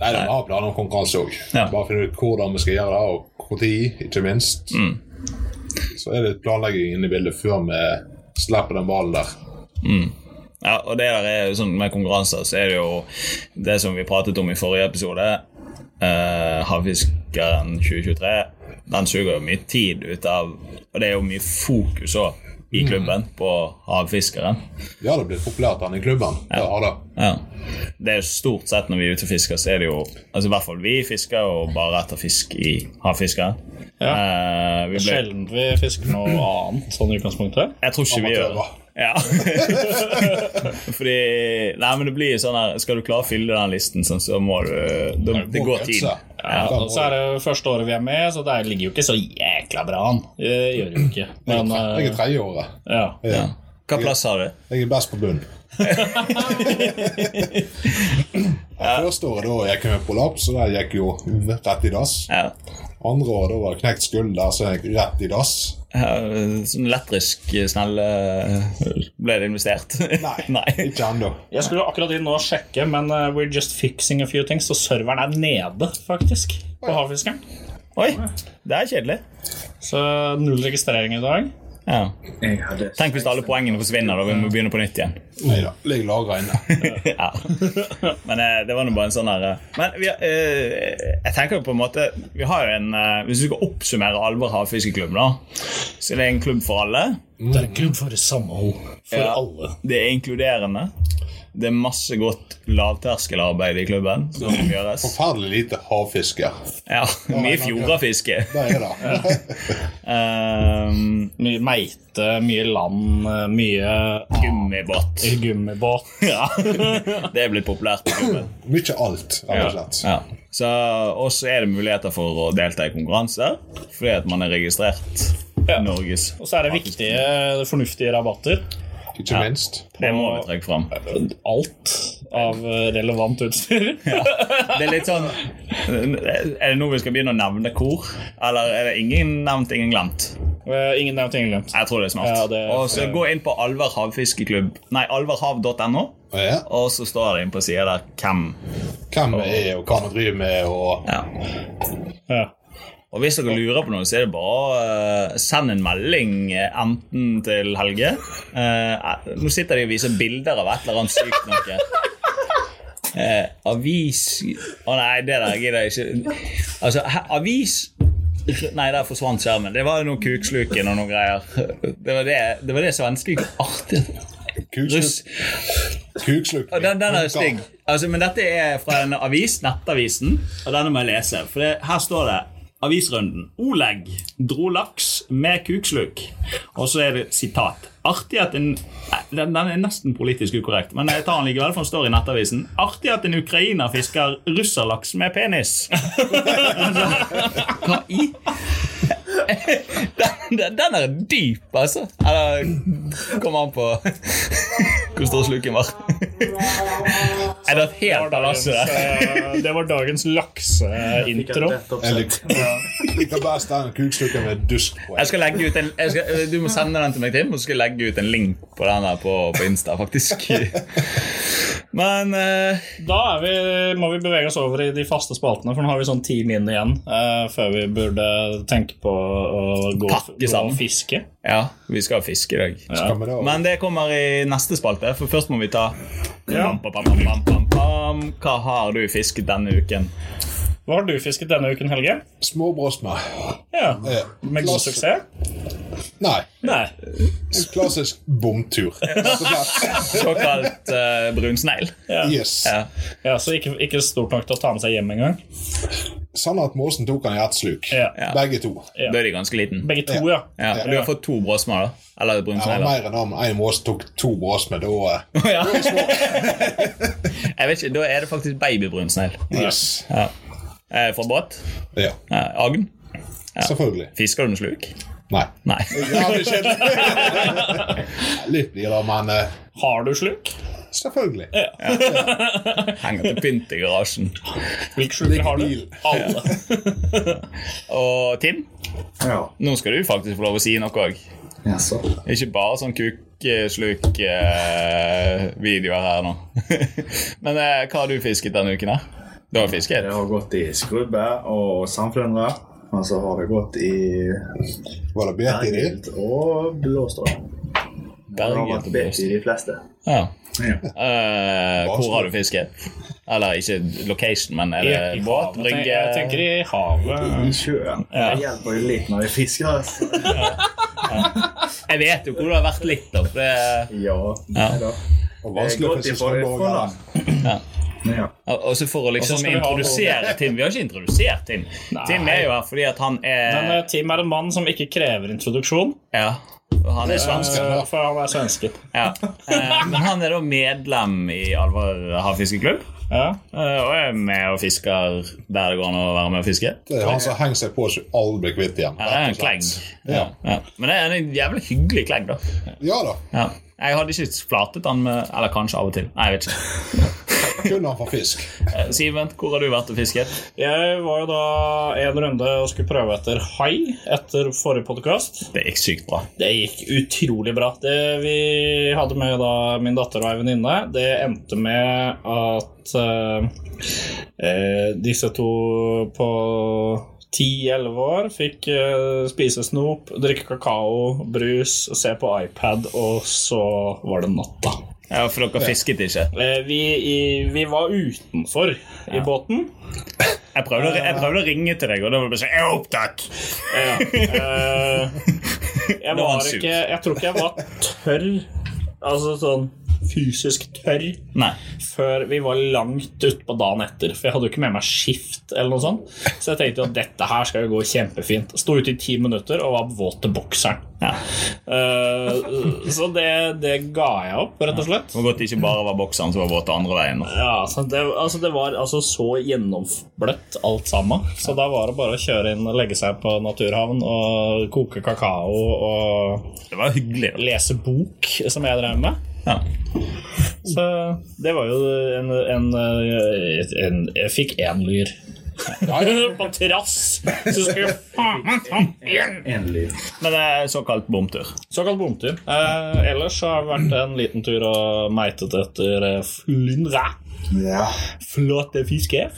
S3: Nei, da, vi har planer om konkurranse òg.
S1: Ja.
S3: Bare finne ut hvordan vi skal gjøre det, og når, ikke minst. Så er det litt planlegging inne i bildet før vi slipper den ballen der.
S1: Ja, og det der er jo sånn med konkurranser, så er det jo det som vi pratet om i forrige episode. eh, Havfiskeren 2023. Den suger jo mye tid ut av Og det er jo mye fokus òg i klubben på havfiskeren.
S3: Ja, det blir populært den i klubben. Ja, da.
S1: Ja. Det er jo stort sett når vi er ute og fisker, så er det jo Altså i hvert fall vi fisker jo bare etter fisk i havfiskeren.
S2: Ja.
S1: Eh, vi ble,
S2: Sjelden vi fisker noe annet sånn i utgangspunktet.
S1: jeg tror ikke vi gjør det.
S3: Amatører.
S1: Ja. [LAUGHS] Fordi Nei, men det blir sånn her Skal du klare å fylle den listen, sånn, så må du Det, det går tid.
S2: Ja, og så er det første året vi er med, så det ligger jo ikke så jækla bra an. Det gjør det jo ikke. Men
S3: Jeg er
S2: eh,
S3: tredjeåret.
S2: ja.
S1: Ja. Hva plass har du?
S3: Jeg er best på bunn. Ja, Første året da gikk jeg med prolaps, så der gikk jeg jo rett i dass.
S1: Ja.
S3: Andre året da var det knekt skulder, så jeg gikk rett i dass.
S1: Eh, Sånn lettrisk snelle Ble det investert?
S3: Nei,
S1: [LAUGHS] nei.
S3: ikke ennå.
S2: Jeg skulle akkurat inn og sjekke, men eh, we're just fixing a few things, så serveren er nede, faktisk, på Havfiskeren.
S1: Oi, det er kjedelig.
S2: Så eh, null registrering i dag.
S1: Ja.
S4: Jeg hadde
S1: Tenk hvis alle poengene forsvinner, da vi må begynne på nytt igjen.
S3: Nei da. Ligger lagra inne.
S1: [LAUGHS] Ja. Men eh, det var nå bare en sånn her eh, Men vi, har, eh, jeg tenker jo på en måte Vi har jo en eh, Hvis du skal oppsummere Alver havfiskeklubb, da, så er det en klubb for alle.
S2: Det er en klubb for samhold. For
S1: Ja.
S2: alle.
S1: Det er inkluderende. Det er masse godt lavterskelarbeid i klubben som gjøres.
S3: Forferdelig lite havfiske.
S1: Ja, Mye fjordafiske.
S3: Det er det.
S1: Eh, Um,
S2: Mye meite, mye land, eh, mye
S1: gummibåt.
S2: gummibåt.
S1: Ja. det er blitt populært. på klubben.
S3: [LAUGHS] Mye alt, rett og slett.
S1: Ja. Så også er det muligheter for å delta i konkurranser, fordi at man er registrert
S2: Ja.
S1: Norges.
S2: Og så er det viktige, fornuftige rabatter.
S3: Ikke minst.
S1: Det må vi trekke fram.
S2: Alt av eh, relevant utstyr.
S1: Det er litt sånn Er det nå vi skal begynne å nevne kor? Eller er det ingen nevnt, ingen glemt?
S2: [LAUGHS] Eh, Ingen nevnt, ingen glemt.
S1: Jeg tror det er smart.
S2: Ja, det-
S1: og så Gå inn på Alver havfiskeklubb Nei, alverhav.no,
S3: Ja.
S1: og så står det inn på sida der hvem.
S3: Hvem vi er, og hva vi driver med, og
S1: Ja.
S2: Ja.
S1: Og hvis dere lurer på noe, så er det bare å eh, sende en melding eh, enten til Helge eh, eh, Nå sitter de og viser bilder av et eller annet sykt noe. Eh, avis Å nei, det der gidder jeg ikke. Altså, hæ, avis Nei, der forsvant skjermen. Det var noe kuksluken og noen greier. Det var det, det, var det svenske artig. Russ,
S3: kukslukt. kukslukt.
S1: og den, den er stygg. Altså, men dette er fra en avis, Nettavisen, og denne må jeg lese. For det, her står det Avisrunden. Oleg dro laks med kuksluk. Og så er det et sitat. Artig at en Nei, den, den er nesten politisk ukorrekt, men jeg tar den likevel, for den står i Nettavisen. Artig at en ukrainer fisker russerlaks med penis. Altså, Hva i [LAUGHS] den, den- den er dyp, altså. Eller kommer an på [LAUGHS] hvor stor sluken var. [LAUGHS] Er det et helt alasse der?
S2: Eh, Det var dagens lakseintro.
S3: Jeg lik-
S1: [LAUGHS]
S3: [LAUGHS] jeg liker best den kukslukken med dusk på.
S1: Jeg skal legge ut en, jeg skal, du må sende den til meg, Tim, og så skal jeg legge ut en link på den der på, på Insta, faktisk. [LAUGHS] Men eh,
S2: Da er vi, må vi bevege oss over i de faste spaltene, for nå har vi sånn ti min igjen eh, før vi burde tenke på å gå,
S1: Pakke
S2: gå
S1: sammen.
S2: og fiske.
S1: ja, vi skal fiske i dag.
S3: Skal vi da-
S1: Men det kommer i neste spalte, for først må vi ta
S2: Ja.
S1: Pam, pam, pam, pam, pam, pam. Hva har du fisket denne uken?
S2: Hva har du fisket denne uken, Helge?
S3: Småbrosme.
S2: Ja,
S3: Eh,
S2: Med god
S3: klass-
S2: suksess?
S3: Nei.
S2: Nei.
S3: En klassisk bomtur. rett og slett.
S1: Såkalt eh, brunsnegl.
S3: Yes.
S1: Ja.
S2: Ja, Så ikke, ikke stort nok til å ta med seg hjem engang?
S3: Sånn at Måsen tok han i ett sluk.
S2: Ja.
S3: Begge to.
S1: Da er de ganske liten.
S2: Begge to, ja.
S1: Ja, og du har fått to bråsmer, da? Eller
S3: Det var
S1: brunsnegler?
S3: mer enn om en mås tok to brosme. Da
S1: [LAUGHS]
S3: eh,
S1: Ja. Jeg vet ikke, Da er det faktisk babybrunsnegl.
S3: Yes.
S1: Ja. Eh, Fra båt?
S3: Ja.
S1: Eh, Agn?
S3: Selvfølgelig.
S1: Fisker du med sluk?
S3: Nei.
S4: [LAUGHS]
S1: Nei.
S3: Ja, det skjedde.
S1: [LAUGHS]
S3: Litt dyrere, men eh,
S2: Har du sluk?
S3: selvfølgelig.
S1: Henger til pynt i garasjen.
S2: Hvilke sluker har du?
S3: bil.
S2: Alle.
S1: Og Tim,
S4: Ja.
S1: nå skal du faktisk få lov å si noe òg.
S4: Jaså.
S1: Ikke bare sånn kuksluk-videoer her nå. [LAUGHS] Men eh, hva har du fisket denne uken? her? Du har fisket?
S4: Jeg har gått i skrubbe og sandflyndre. Og så har jeg gått i
S3: Var det bet i det?
S4: Bergild og Blåstrøm. Det har vært bet i de fleste.
S1: Ja.
S4: Ja.
S1: Eh, hvor har du fisket? Eller ikke location, men er det
S2: I
S1: båt,
S2: havet.
S1: brygge?
S2: Jeg tenker i havet.
S4: I sjøen. Det hjelper jo litt når jeg fisker. Altså.
S1: Jeg vet jo hvor det har vært litt. Da. for Det,
S4: Ja, nei da.
S3: Og
S4: Jeg har
S3: vanskelig for
S4: gått ifra
S3: sesongborgere.
S1: Ja.
S4: Ja.
S1: og så for å
S2: Og så
S1: liksom
S2: skal vi ha
S1: introdusere Tim Vi har ikke introdusert Tim. Tim er jo her fordi at han er
S2: Men eh, Tim er en mann som ikke krever introduksjon,
S1: Ja, og han er svensk.
S2: eh, for han er svenske.
S1: Ja. Eh, Men han er da medlem i Alvar havfiskeklubb.
S2: Ja.
S1: eh, Og er med og fisker der det går an å være med og fiske.
S3: Det er han som henger seg på så du aldri blir kvitt igjen.
S1: Ja, det er en
S3: rett og
S1: klegg.
S3: slett.
S1: Ja. Ja. Men det er en jævlig hyggelig klegg, da.
S3: Ja da.
S1: Ja. Jeg hadde ikke flatet han med Eller kanskje av og til. Nei, jeg vet ikke.
S2: [LAUGHS]
S3: Kun han får fisk.
S1: Eh, Simen, hvor har du vært og fisket?
S2: Jeg var jo da en runde og skulle prøve etter hai etter forrige podkast.
S1: Det gikk sykt bra.
S2: Det gikk utrolig bra. Det vi hadde med da min datter og ei venninne, det endte med at eh, eh, disse to på 10-11 år fikk eh, spise snop, drikke kakao, brus, se på iPad, og så var det natta.
S1: Ja, For dere fisket ikke?
S2: Eh, vi, i, vi var utenfor i båten.
S1: Jeg prøvde, å ri- jeg prøvde å ringe til deg, og da var det bare sånn Jeg er opptatt!
S2: Ja. Eh, jeg
S1: var
S2: var
S1: han sur. [LAUGHS]
S2: ikke Jeg tror ikke jeg var tørr. Altså sånn fysisk tørr
S1: Nei.
S2: før vi var langt utpå dagen etter. For jeg hadde jo ikke med meg skift, eller noe sånt. Så jeg tenkte jo at dette her skal jo gå kjempefint. Sto ute i ti minutter og var våt til bokseren.
S1: Ja.
S2: Eh, så det, det ga jeg opp, rett og slett.
S1: Det var godt det ikke bare var bokseren som var våt andre veien.
S2: Ja, så det, altså det var altså så gjennombløtt alt sammen. Så da var det bare å kjøre inn og legge seg på Naturhavn og koke kakao og
S1: Det var hyggelig. da.
S2: lese bok, som jeg drev med.
S1: Ja.
S2: Så det var jo en, en, en Jeg fikk én lyr. [LAUGHS] på trass! Så skulle jeg faen meg ta den igjen!
S4: En lyd.
S1: Men det er såkalt bomtur.
S2: Såkalt bomtur. Eh, ellers har det vært en liten tur og meitet etter eh, flyndre.
S4: Ja.
S2: flotte fisker.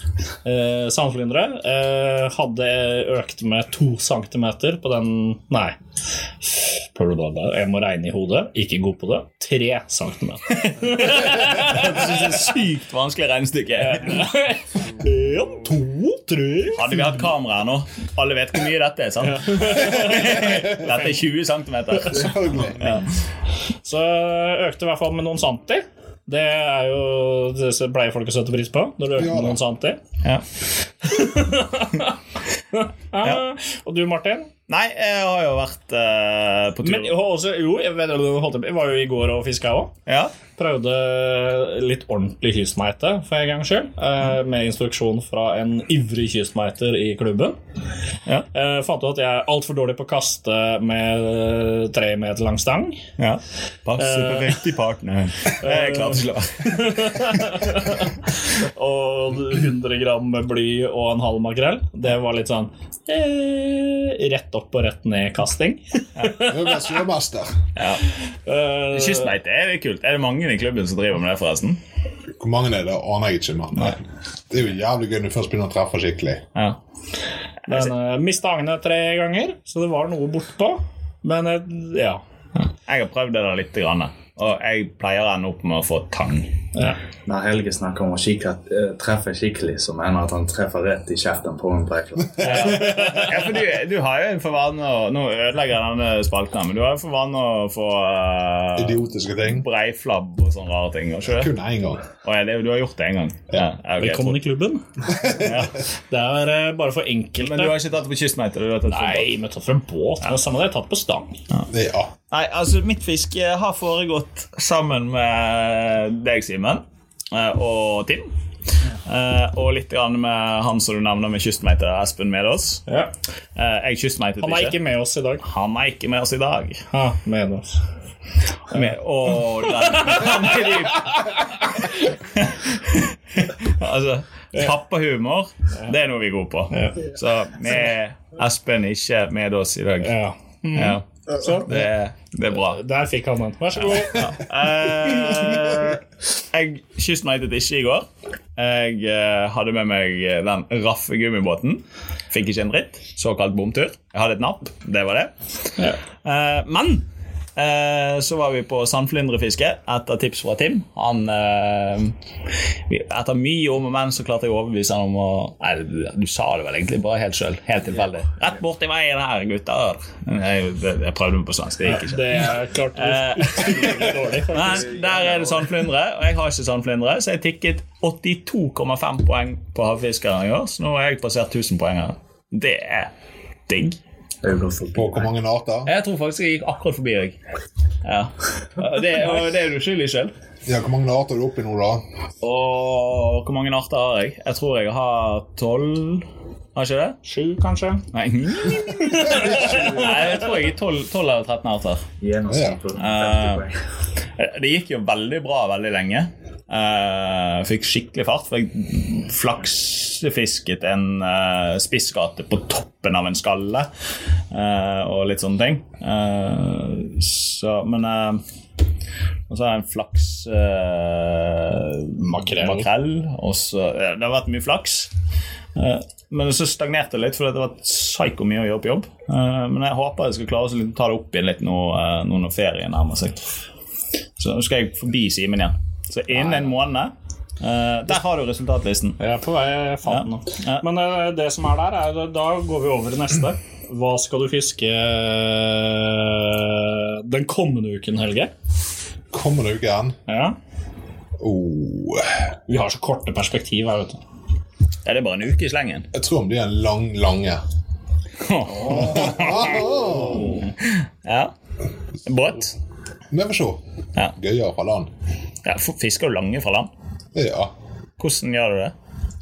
S2: Eh, Sandflyndre. Eh, hadde økt med to centimeter på den Nei. Blablabla. Jeg må regne i hodet. Ikke god på det. Tre centimeter.
S1: Det synes jeg er sykt vanskelig regnestykke.
S2: En, to, tre
S1: Hadde vi hatt kamera her nå Alle vet hvor mye dette er, sant? Dette er 20 cm.
S3: Selvfølgelig.
S2: Så økte i hvert fall med noen santi. Det er jo det som pleier folk å sette pris på. Når du øker
S3: Ja,
S2: med
S3: da.
S2: noen santi.
S1: Ja.
S2: Ah, Og du, Martin?
S1: Nei, jeg har jo vært eh, på tur.
S2: Men, og også, jo, jeg, vet, holdt jeg på- jeg var jo i går og fiska òg.
S1: ja.
S2: Prøvde litt ordentlig kystmeite for en gangs skyld. eh, Med instruksjon fra en ivrig kystmeiter i klubben.
S1: Ja.
S2: Eh, Fant ut at jeg er altfor dårlig på å kaste med eh, tre meter lang stang.
S1: ja. Passe
S2: Eh.
S1: på riktig partner. Jeg klarte ikke å la
S2: Og 100 gram med bly og en halv makrell. Det var litt sånn eh, rett opp og rett ned-kasting.
S3: Øver sjømester.
S2: [LAUGHS] Eh,
S1: Kystbeite er litt kult. Er det mange i klubben som driver med det, forresten?
S3: Hvor mange er det, aner jeg ikke, men eh, det er jo jævlig gøy når du først begynner å treffe skikkelig.
S1: Ja.
S2: Men uh, mista agnet tre ganger, så det var noe bortpå. Men eh, ja.
S1: Jeg har prøvd det der litt, grann, og jeg pleier å ende opp med å få tang.
S2: ja.
S4: Når Helge snakker om å kikke, eh, treffe skikkelig, så mener han at han treffer rett i kjeften på en breiflat.
S1: Ja, for du, du har jo for vane å Nå ødelegger jeg denne spalten, her, men du har jo for vane å få uh,
S3: Idiotiske ting.
S1: breiflabb og sånne rare ting. har Ikke? det?
S3: Kun én gang.
S1: Å, ja, det, du har gjort det en gang? Ja, ja, ok, jeg tror-
S2: Velkommen i klubben. Det er eh, bare for enkelte.
S1: Men du har ikke tatt det på kystmeite? Du har tatt det på
S2: Nei, men tatt fra båt. Men samme det, tatt på stang.
S3: Det, ah, ja.
S1: Nei, altså mitt fiske har foregått sammen med deg, Simen, eh, og Tim. Eh, Og litt grann med han som du nevner med kystmeite, Espen Medås. Eh, Jeg kystmeitet
S2: Han er ikke
S1: ikke.
S2: med oss i dag.
S1: Han er ikke med oss i dag.
S2: Ha, med oss.
S1: Med, og den, [LAUGHS] han er dyp. altså, pappahumor, det er noe vi er gode på. Så vi er Espen ikke med oss i dag.
S2: Ja.
S1: Ja,
S2: Så,
S1: det, er- det er bra.
S2: der fikk han den. Vær så god.
S1: Eh, jeg kystmeitet ikke i går. Jeg eh, hadde med meg den raffe gummibåten. Fikk ikke en dritt. Såkalt bomtur. Jeg hadde et napp. Det var det.
S2: Ja.
S1: Eh, men eh, så var vi på sandflyndrefiske etter tips fra Tim. Han eh, vi- Etter mye om og men så klarte jeg å overbevise han om å Nei, du, du sa det vel egentlig bare helt sjøl. Helt tilfeldig. Rett borti veien her, gutter. Jeg, jeg prøvde meg på svensk. Det gikk ikke.
S2: Det er klart
S1: Eh,
S2: utrolig dårlig.
S1: men der er det sandflyndre, og jeg har ikke sandflyndre, så jeg tikket 82,5 poeng på havfiskeren i år, så nå har jeg passert 1000 poeng her. Det er digg.
S4: Det er jo godt
S3: På
S4: forbi.
S3: hvor mange arter?
S1: Jeg tror faktisk jeg gikk akkurat forbi deg. Ja. Og Det, og det er du skyld i sjøl.
S3: Ja, hvor mange arter er du oppe i nå, da?
S1: Og hvor mange arter har jeg? Jeg tror jeg har tolv. Har ikke det?
S2: Sju, kanskje.
S1: Nei, [LAUGHS] Nei jeg tror jeg er tolv eller 13 arter.
S4: Gjennomsnitt på 50 poeng.
S1: Eh, Det gikk jo veldig bra veldig lenge. Eh, fikk skikkelig fart. For jeg flaksefisket en eh, spissgate på toppen av en skalle eh, og litt sånne ting. Eh, så, men eh, Og så har jeg en flaks eh,
S2: Makrell.
S1: og så, ja, det har vært mye flaks. Eh, men så stagnerte det litt, for det har vært psyko mye å gjøre på jobb. Eh, men jeg håper jeg skal klare å liksom ta det opp igjen litt nå, eh, nå når ferien nærmer seg. Så nå skal jeg forbi Simen igjen. Så innen en måned eh, Der har du resultatlisten.
S2: Jeg er på vei. Jeg fant den nå.
S1: Ja.
S2: Men eh, det som er der, er Da går vi over i neste. Hva skal du fiske eh, den kommende uken, Helge?
S3: kommende uke igjen.
S2: Ja.
S3: Oh,
S2: Vi har så korte perspektiv her, vet du.
S1: Er det bare en uke i slengen?
S3: jeg tror det blir en lang, lange.
S1: Ja. Båt?
S3: Men vi får se.
S1: Ja.
S3: Gøyere fra land.
S1: Ja, f- fisker du lange fra land?
S3: Ja.
S1: Hvordan gjør du det?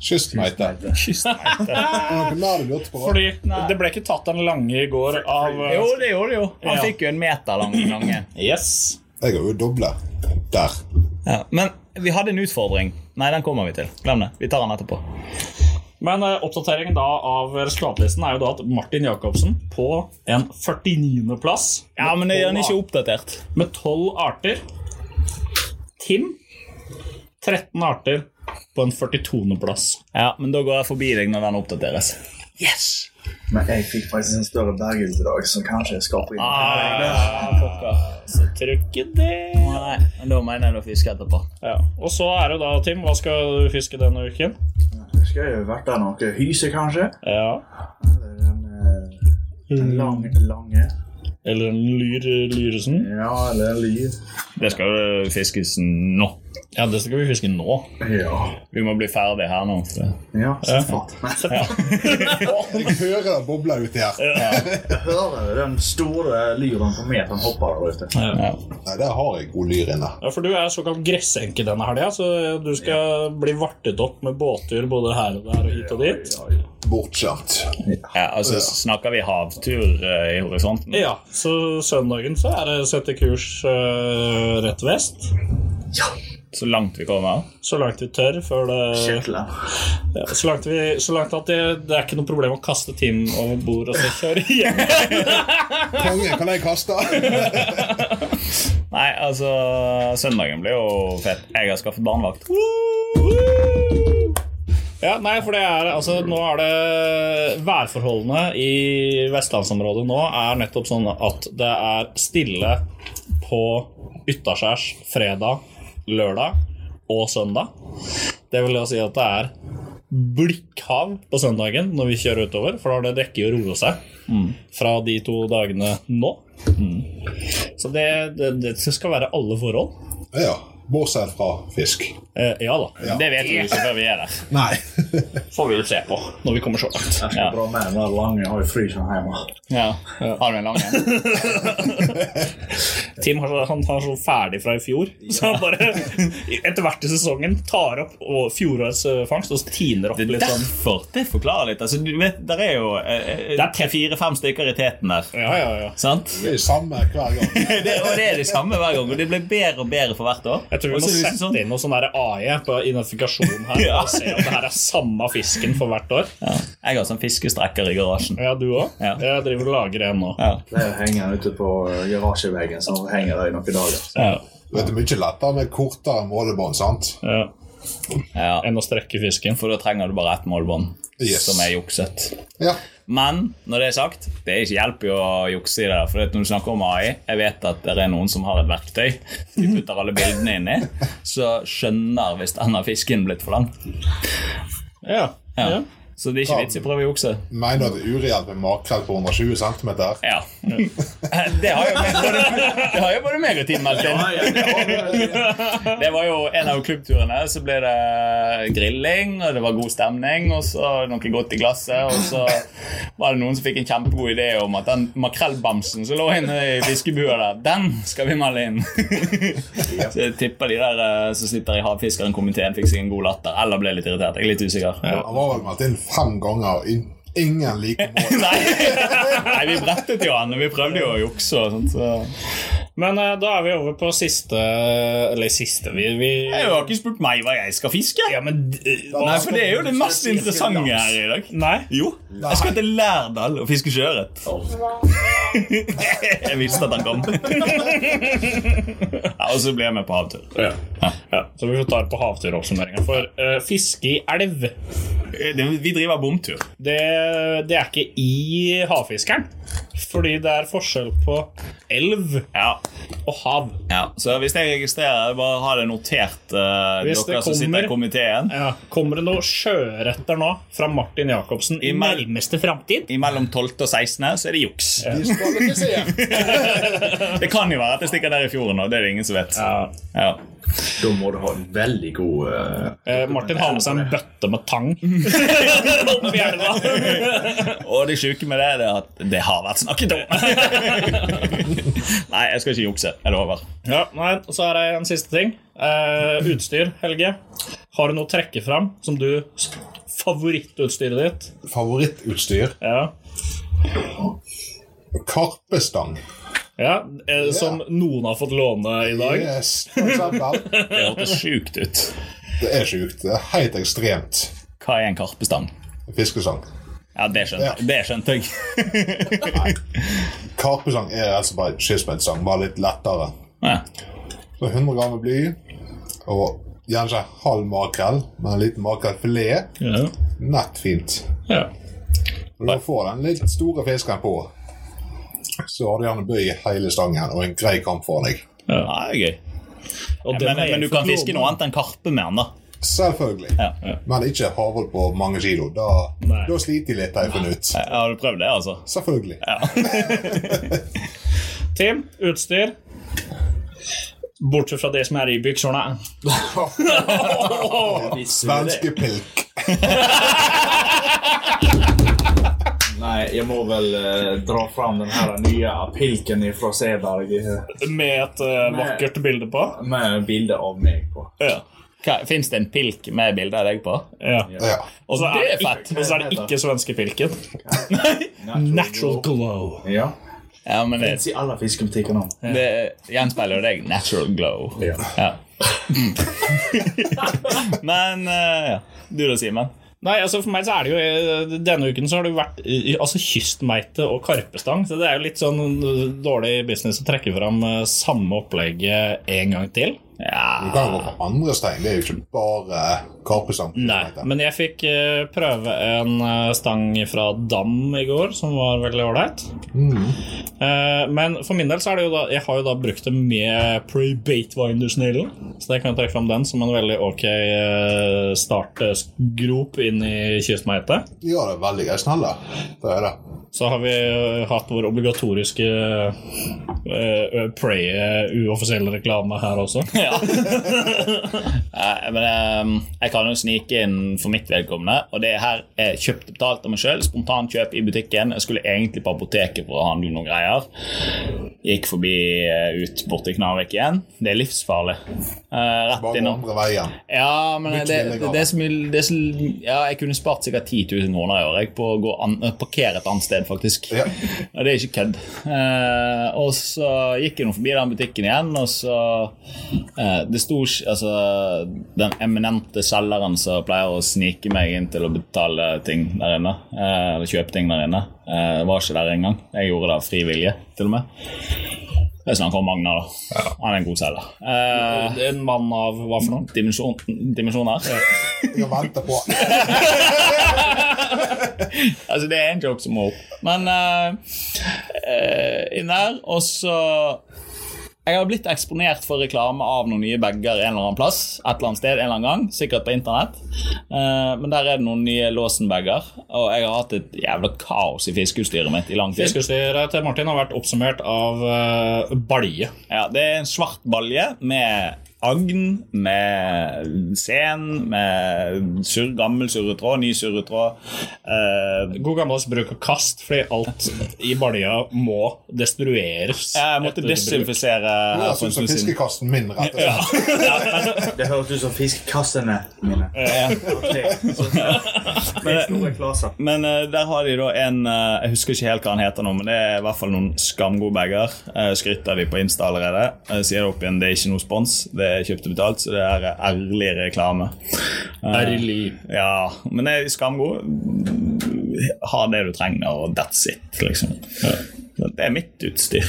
S3: Kystmeite. Er det noe mer du lurte på?
S2: Fordi det ble ikke tatt den lange i går av eh,
S1: [LAUGHS] Jo, det gjorde du jo. Han
S2: Ja.
S1: fikk jo en meter lang lange.
S2: Yes.
S3: Jeg har jo doble. Der.
S1: Ja. Men vi hadde en utfordring. Nei, den kommer vi til. Glem det. Vi tar den etterpå.
S2: Men eh, oppdateringen da av resultatlisten er jo da at Martin Jacobsen på en 49.-plass
S1: Ja, men det er den ikke oppdatert.
S2: med 12 arter. Tim 13 arter på en 42.-plass.
S1: Ja, men da går jeg forbi deg når den oppdateres.
S4: Men jeg fikk faktisk en større bergelse i dag, som kanskje skal på
S2: Ah.
S4: inn.
S1: Tror ikke det. Nei, men da mener jeg du fisker etterpå.
S2: Ja. Og så er det da, Tim, hva skal du fiske denne uken?
S4: Skal jo vært der noe hyse, kanskje?
S2: Ja.
S4: Eller en, eh, en lang, lange
S2: Eller en lyr, Lyresen?
S4: Ja, eller en lyr.
S1: Det skal jo fiskes nå.
S2: Ja, det skal vi fiske nå.
S4: Ja.
S1: Vi må bli ferdig her nå. for-
S4: ja. Sett fatt. [LAUGHS]
S3: Jeg hører det bobler uti her.
S4: Jeg hører den store lyren på meteren hopper der ute.
S1: Ja.
S3: Nei, der har jeg god lyr inne.
S2: Ja, for du er såkalt gressenke denne helga, så du skal bli vartet opp med båttur både her og der og hit og dit.
S3: Bortskjemt.
S1: Ja, altså Snakker vi havtur eh, i horisonten?
S2: Ja, så søndagen så er det sette kurs øh, rett vest.
S1: Så langt vi kommer?
S2: Så langt vi tør før det
S4: Kirtler.
S2: ja, så, langt vi, så langt at det, det er ikke noe problem å kaste Tim over bord og så kjøre hjem.
S3: Konge, kan jeg kaste?
S1: Nei, altså Søndagen blir jo fett. Jeg har skaffet barnevakt.
S2: Ja, nei, for det er altså Nå er det Værforholdene i vestlandsområdet nå er nettopp sånn at det er stille på utaskjærs fredag, lørdag og søndag. Det vil da si at det er blikkhav på søndagen når vi kjører utover, for da rekker jo å roe seg
S1: Mm.
S2: fra de to dagene nå. Så det, det, det skal være alle forhold.
S3: [LAUGHS] Ja. Bortsett fra fisk.
S2: Eh, ja da.
S1: Det vet vi jo ikke før vi er der.
S3: Nei.
S2: Får vi jo se på når vi kommer så langt.
S4: Jeg skal
S1: Ja.
S4: dra med den lange, jeg har jo fryseren hjemme.
S1: Ja. Har du en lang en?
S2: Tim har så, han har så ferdig fra i fjor, [LAUGHS] så han bare etter hvert i sesongen tar opp og fjorårets eh, fangst og så tiner opp
S1: Det er
S2: litt sånn.
S1: derfor. Det forklarer litt. Altså, du vet, Der er jo eh,
S2: Det er tre-
S1: tre-fire-fem stykker i teten der.
S2: Ja, ja, ja. [LAUGHS]
S1: Sant?
S3: Det er samme [LAUGHS] hver gang.
S1: Det, og det er det samme hver gang, og det blir bedre og bedre for hvert år.
S2: Jeg tror vi
S1: Og
S2: må
S1: så er det liksom
S2: sette
S1: sånn-
S2: inn noe sånn der AI på identifikasjon
S1: [LAUGHS]
S2: her.
S1: Ja.
S2: Og se om det her er samme fisken for hvert år.
S1: ja. Jeg har sånn fiskestrekker i garasjen.
S2: Ja, du òg?
S1: Ja.
S2: Jeg driver og lager en nå.
S1: Ja.
S4: Det henger ute på eh, garasjeveggen, så henger det i noen dager.
S2: Ja.
S3: Vet du, Mye lettere med kortere målebånd, sant?
S2: Ja.
S1: Ja.
S2: Enn å strekke fisken.
S1: For da trenger du bare ett målbånd,
S3: Yes.
S1: som er jukset.
S3: Ja.
S1: Men når det er sagt, det er ikke hjelp i å jukse i det. der, For at når du snakker om AI, jeg vet at det er noen som har et verktøy de putter alle bildene inn i, så skjønner hvis denne fisken blitt for lang.
S2: Ja.
S1: Ja.
S2: Ja.
S1: Så det er ikke vits i å prøve å jukse.
S3: Mener du at det er ureelt med makrell på 120 cm?
S1: Ja. [LAUGHS] Det har jo både, det har jo både meg og Tim meldt inn. [LAUGHS] Det var jo en av klubbturene. Så ble det grilling, og det var god stemning, og så noe godt i glasset. Og så var det noen som fikk en kjempegod idé om at den makrellbamsen som lå inne i fiskebua der, den skal vi melde inn. Så jeg tipper de der eh, som sitter i Havfiskeren-komiteen, fikk seg en god latter. Eller ble litt irritert. Jeg er litt usikker.
S3: Han var vel meldt inn fem ganger, og in- ingen liker mål.
S1: Nei. [LAUGHS] Nei, vi brettet jo han, og vi prøvde jo å jukse og sånt. så...
S2: Men eh, da er vi over på siste Eller siste vi, vi
S1: Jeg har ikke spurt meg hva jeg skal fiske.
S2: Ja, men eh,
S1: Nei, for det er jo det mest interessante her i dag.
S2: Nei.
S1: Jo, jeg skal til Lærdal og fiske sjøørret. [LAUGHS] jeg visste at han kom. ja, og så blir jeg med på havtur.
S2: Ja. Ja, så vi får ta det på havturoppsummeringa. For eh, fiske i elv,
S1: Det- Vi driver bomtur.
S2: det, det er ikke i havfiskeren. Fordi det er forskjell på elv
S1: Ja.
S2: og hav.
S1: ja. Så hvis jeg registrerer, bare ha det notert, eh, dere
S2: Hvis det
S1: som sitter i
S2: kommer-
S1: komiteen.
S2: Ja. Kommer det noe sjøørreter nå fra Martin Jacobsen i Mel...
S5: Nærmeste framtid?
S1: Imellom 12. og 16. så er det juks.
S3: De skal ikke se hjem.
S1: Det kan jo være at det stikker der i fjorden òg. Det er det ingen som vet.
S2: Ja.
S1: Ja.
S4: Da må du ha en veldig god eh,
S2: Eh, Martin har med seg en bøtte med
S1: [LAUGHS]
S2: tang. Opp i elva.
S1: Og det sjuke med det, det er at det har vært snakket om. Nei, jeg skal ikke jukse. Jeg lover.
S2: Ja, nei, og Så er det en siste ting. Eh, utstyr, Helge. Har du noe å trekke fram som du Favorittutstyret ditt?
S3: Favorittutstyr
S2: Ja.
S3: karpestang.
S2: ja eh, Som noen har fått låne i dag.
S3: Yes, for eksempel.
S1: Det hørtes sjukt ut.
S3: Det er sjukt. Det er helt ekstremt.
S1: Hva er en karpestang?
S3: Fiskesang.
S1: Ja, det skjønte, jeg. det skjønte jeg.
S3: Karpesang er altså bare skipsbeltsang, bare litt lettere.
S1: Ja.
S3: Så 100 gram med bly og gjerne ikke halv makrell, men en liten makrellfilet.
S2: Ja.
S3: Nett fint.
S2: Ja.
S3: Når du får den litt store fisken på, så har du gjerne bøy i hele stangen og en grei kamp for deg.
S1: Ja, det er gøy.
S2: Og
S1: Men,
S2: den
S1: men,
S2: er
S1: men du
S2: for
S1: kan
S2: låne.
S1: fiske noe annet enn karpe med den, da.
S3: Selvfølgelig.
S1: Ja. Ja.
S3: Men ikke havhold på mange kilo. Da,
S2: Nei.
S3: da sliter de litt, har jeg funnet ut.
S1: Har du prøvd det, altså?
S3: Selvfølgelig.
S2: Tim, utstyr. Bortsett fra det som er i buksene.
S3: Svenske pilk.
S4: Nei, jeg må vel eh, dra fram den her nye pilken fra Seberg eh,
S2: Med et eh, vakkert bilde på.
S4: med bilde av meg på.
S2: Ja.
S1: Fins det en pilk med bilde av deg på?
S2: ja.
S3: Ja.
S2: Og så
S1: Det
S2: er,
S1: er fett.
S2: ikke- og så er det ikke svenskepilken.
S5: Natural glow.
S4: Ja.
S1: Ja, men det,
S4: Fins i alle fiskebutikker nå.
S1: det gjenspeiler jo deg. Natural glow.
S4: Ja.
S1: Ja. [LAUGHS] Men eh, ja. Du da, Simen?
S2: Nei, altså for meg så er det jo eh, Denne uken så har det jo vært i- altså kystmeite og karpestang. Så det er jo litt sånn uh, dårlig business å trekke fram uh, samme opplegget en gang til.
S3: Du
S1: Ja.
S3: kan jo gå for andre stein. Det er jo ikke bare karpesang.
S2: Nei, men jeg fikk eh, prøve en eh, stang fra Dam i går, som var veldig ålreit. Eh, Men for min del så er det jo da Jeg har jo da brukt det med pre-bate-winders-neglen. Så jeg kan trekke fram den som en veldig ok eh, startgrop inn i kystmeite.
S3: De gjør det veldig greit snelle. Det er det.
S2: Så har vi eh, hatt vår obligatoriske uh, Pray eh, uoffisielle reklame her også. [LAUGHS]
S1: Ja. Eh, Men eh, jeg kan jo snike inn for mitt vedkommende. Og det her er kjøpt og betalt av meg sjøl. Spontankjøp i butikken. Jeg skulle egentlig på apoteket for å handle noen greier. Gikk forbi eh, ut borti Knarvik igjen. Det er livsfarlig. Eh, Rett
S3: Bare gå
S1: innom.
S3: andre veien.
S1: Ja, men det,
S3: Mye
S1: det,
S3: billigere.
S1: det er så mye det er så, Ja, jeg kunne spart sikkert 10 000 kroner i år jeg, på å gå an, eh, parkere et annet sted, faktisk.
S3: Ja.
S1: Og det er ikke kødd. Eh, og så gikk jeg nå forbi den butikken igjen, og så eh, Det sto ikke Altså, den eminente selgeren som pleier å snike meg inn til å betale ting der inne, eh, eller kjøpe ting der inne, eh, var ikke der engang. Jeg gjorde det av fri vilje, til og med. Jeg snakker om Magna, da. Han er en god selger. Eh,
S2: En mann av hva for noe?
S1: dimensjon, dimensjoner.
S3: Jeg venter
S1: [LAUGHS]
S3: på
S1: altså, det er en joke som må opp. Men eh, eh, inn der, og så Jeg har blitt eksponert for reklame av noen nye bager en eller annen plass. Et eller annet sted, en eller annen gang, Sikkert på internett. Eh, men der er det noen nye Låsen-bager, og jeg har hatt et jævla kaos i fiskeutstyret mitt i lang tid.
S2: Fiskeutstyret til Martin har vært oppsummert av eh, balje.
S1: Ja, det er en svart balje med agn, med sen, med sur, gammel surretråd, ny surretråd. Eh,
S2: God gammeldags bruk og kast, fordi alt i balja må destrueres.
S1: jeg måtte
S2: etter bruk.
S1: desinfisere her for
S3: Jeg
S1: en
S3: syns
S1: stund siden.
S3: fiskekasten min, rett og slett.
S4: Det høres ut som fiskekassene mine. Okay. Så, tre store klaser.
S1: Men eh, der har de da en eh, Jeg husker ikke helt hva han heter nå, men det er i hvert fall noen skamgode bager. Uh, skryter vi på Insta allerede. Eh, sier det opp igjen, det er ikke noe spons. Det er kjøpt og betalt, så det er eh, ærlig reklame. Eh,
S2: Ærlig.
S1: Ja, men det er skamgod. Ha det du trenger, og that's it, liksom. Det er mitt utstyr.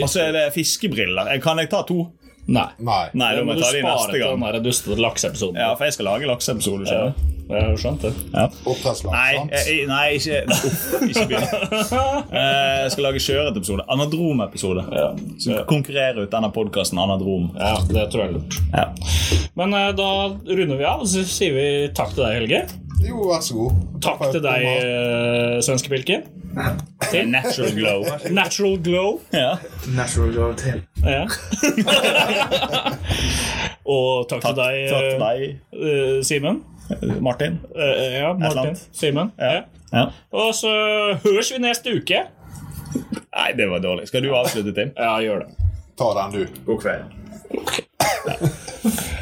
S1: Og så er det fiskebriller. Eh, Kan jeg ta to?
S2: Nei.
S3: Nei.
S1: Nei, da
S2: Det
S1: må
S2: må
S1: jeg
S2: du
S1: ta de
S2: spare
S1: neste
S2: til den
S1: gang.
S2: der dustete lakseepisoden.
S1: Ja, for jeg skal lage lakseepisode.
S2: Ja,
S1: skjønner du?
S2: jeg har skjønt det.
S1: Ja. Nei,
S3: Oppdrettslaks, sant?
S1: jeg, nei, ikke [LAUGHS] Uff, Ikke begynn. Eh, Jeg skal lage sjøørretepisode. Anadrom-episode.
S2: Ja.
S1: Så konkurrere ut denne podkasten Anadrom.
S2: Ja, Det tror jeg er lurt.
S1: Ja.
S2: Men eh, da runder vi av, og så sier vi takk til deg, Helge.
S3: Jo, vær så god.
S2: Takk til deg, eh, svenskepilken. Til
S1: Natural glow. Eh,
S2: Natural Glow.
S1: Ja.
S4: Natural Girl Tale.
S2: Ja. og takk, til deg,
S1: Takk til deg,
S2: eh, Simen.
S1: Martin.
S2: Eh, ja, Martin.
S1: annet.
S2: Simen. Ja.
S1: Ja.
S2: Og så høres vi neste uke.
S1: Nei, det var dårlig. Skal du avslutte, Tim?
S2: Ja, gjør det.
S3: Ta den, du.
S4: God kveld.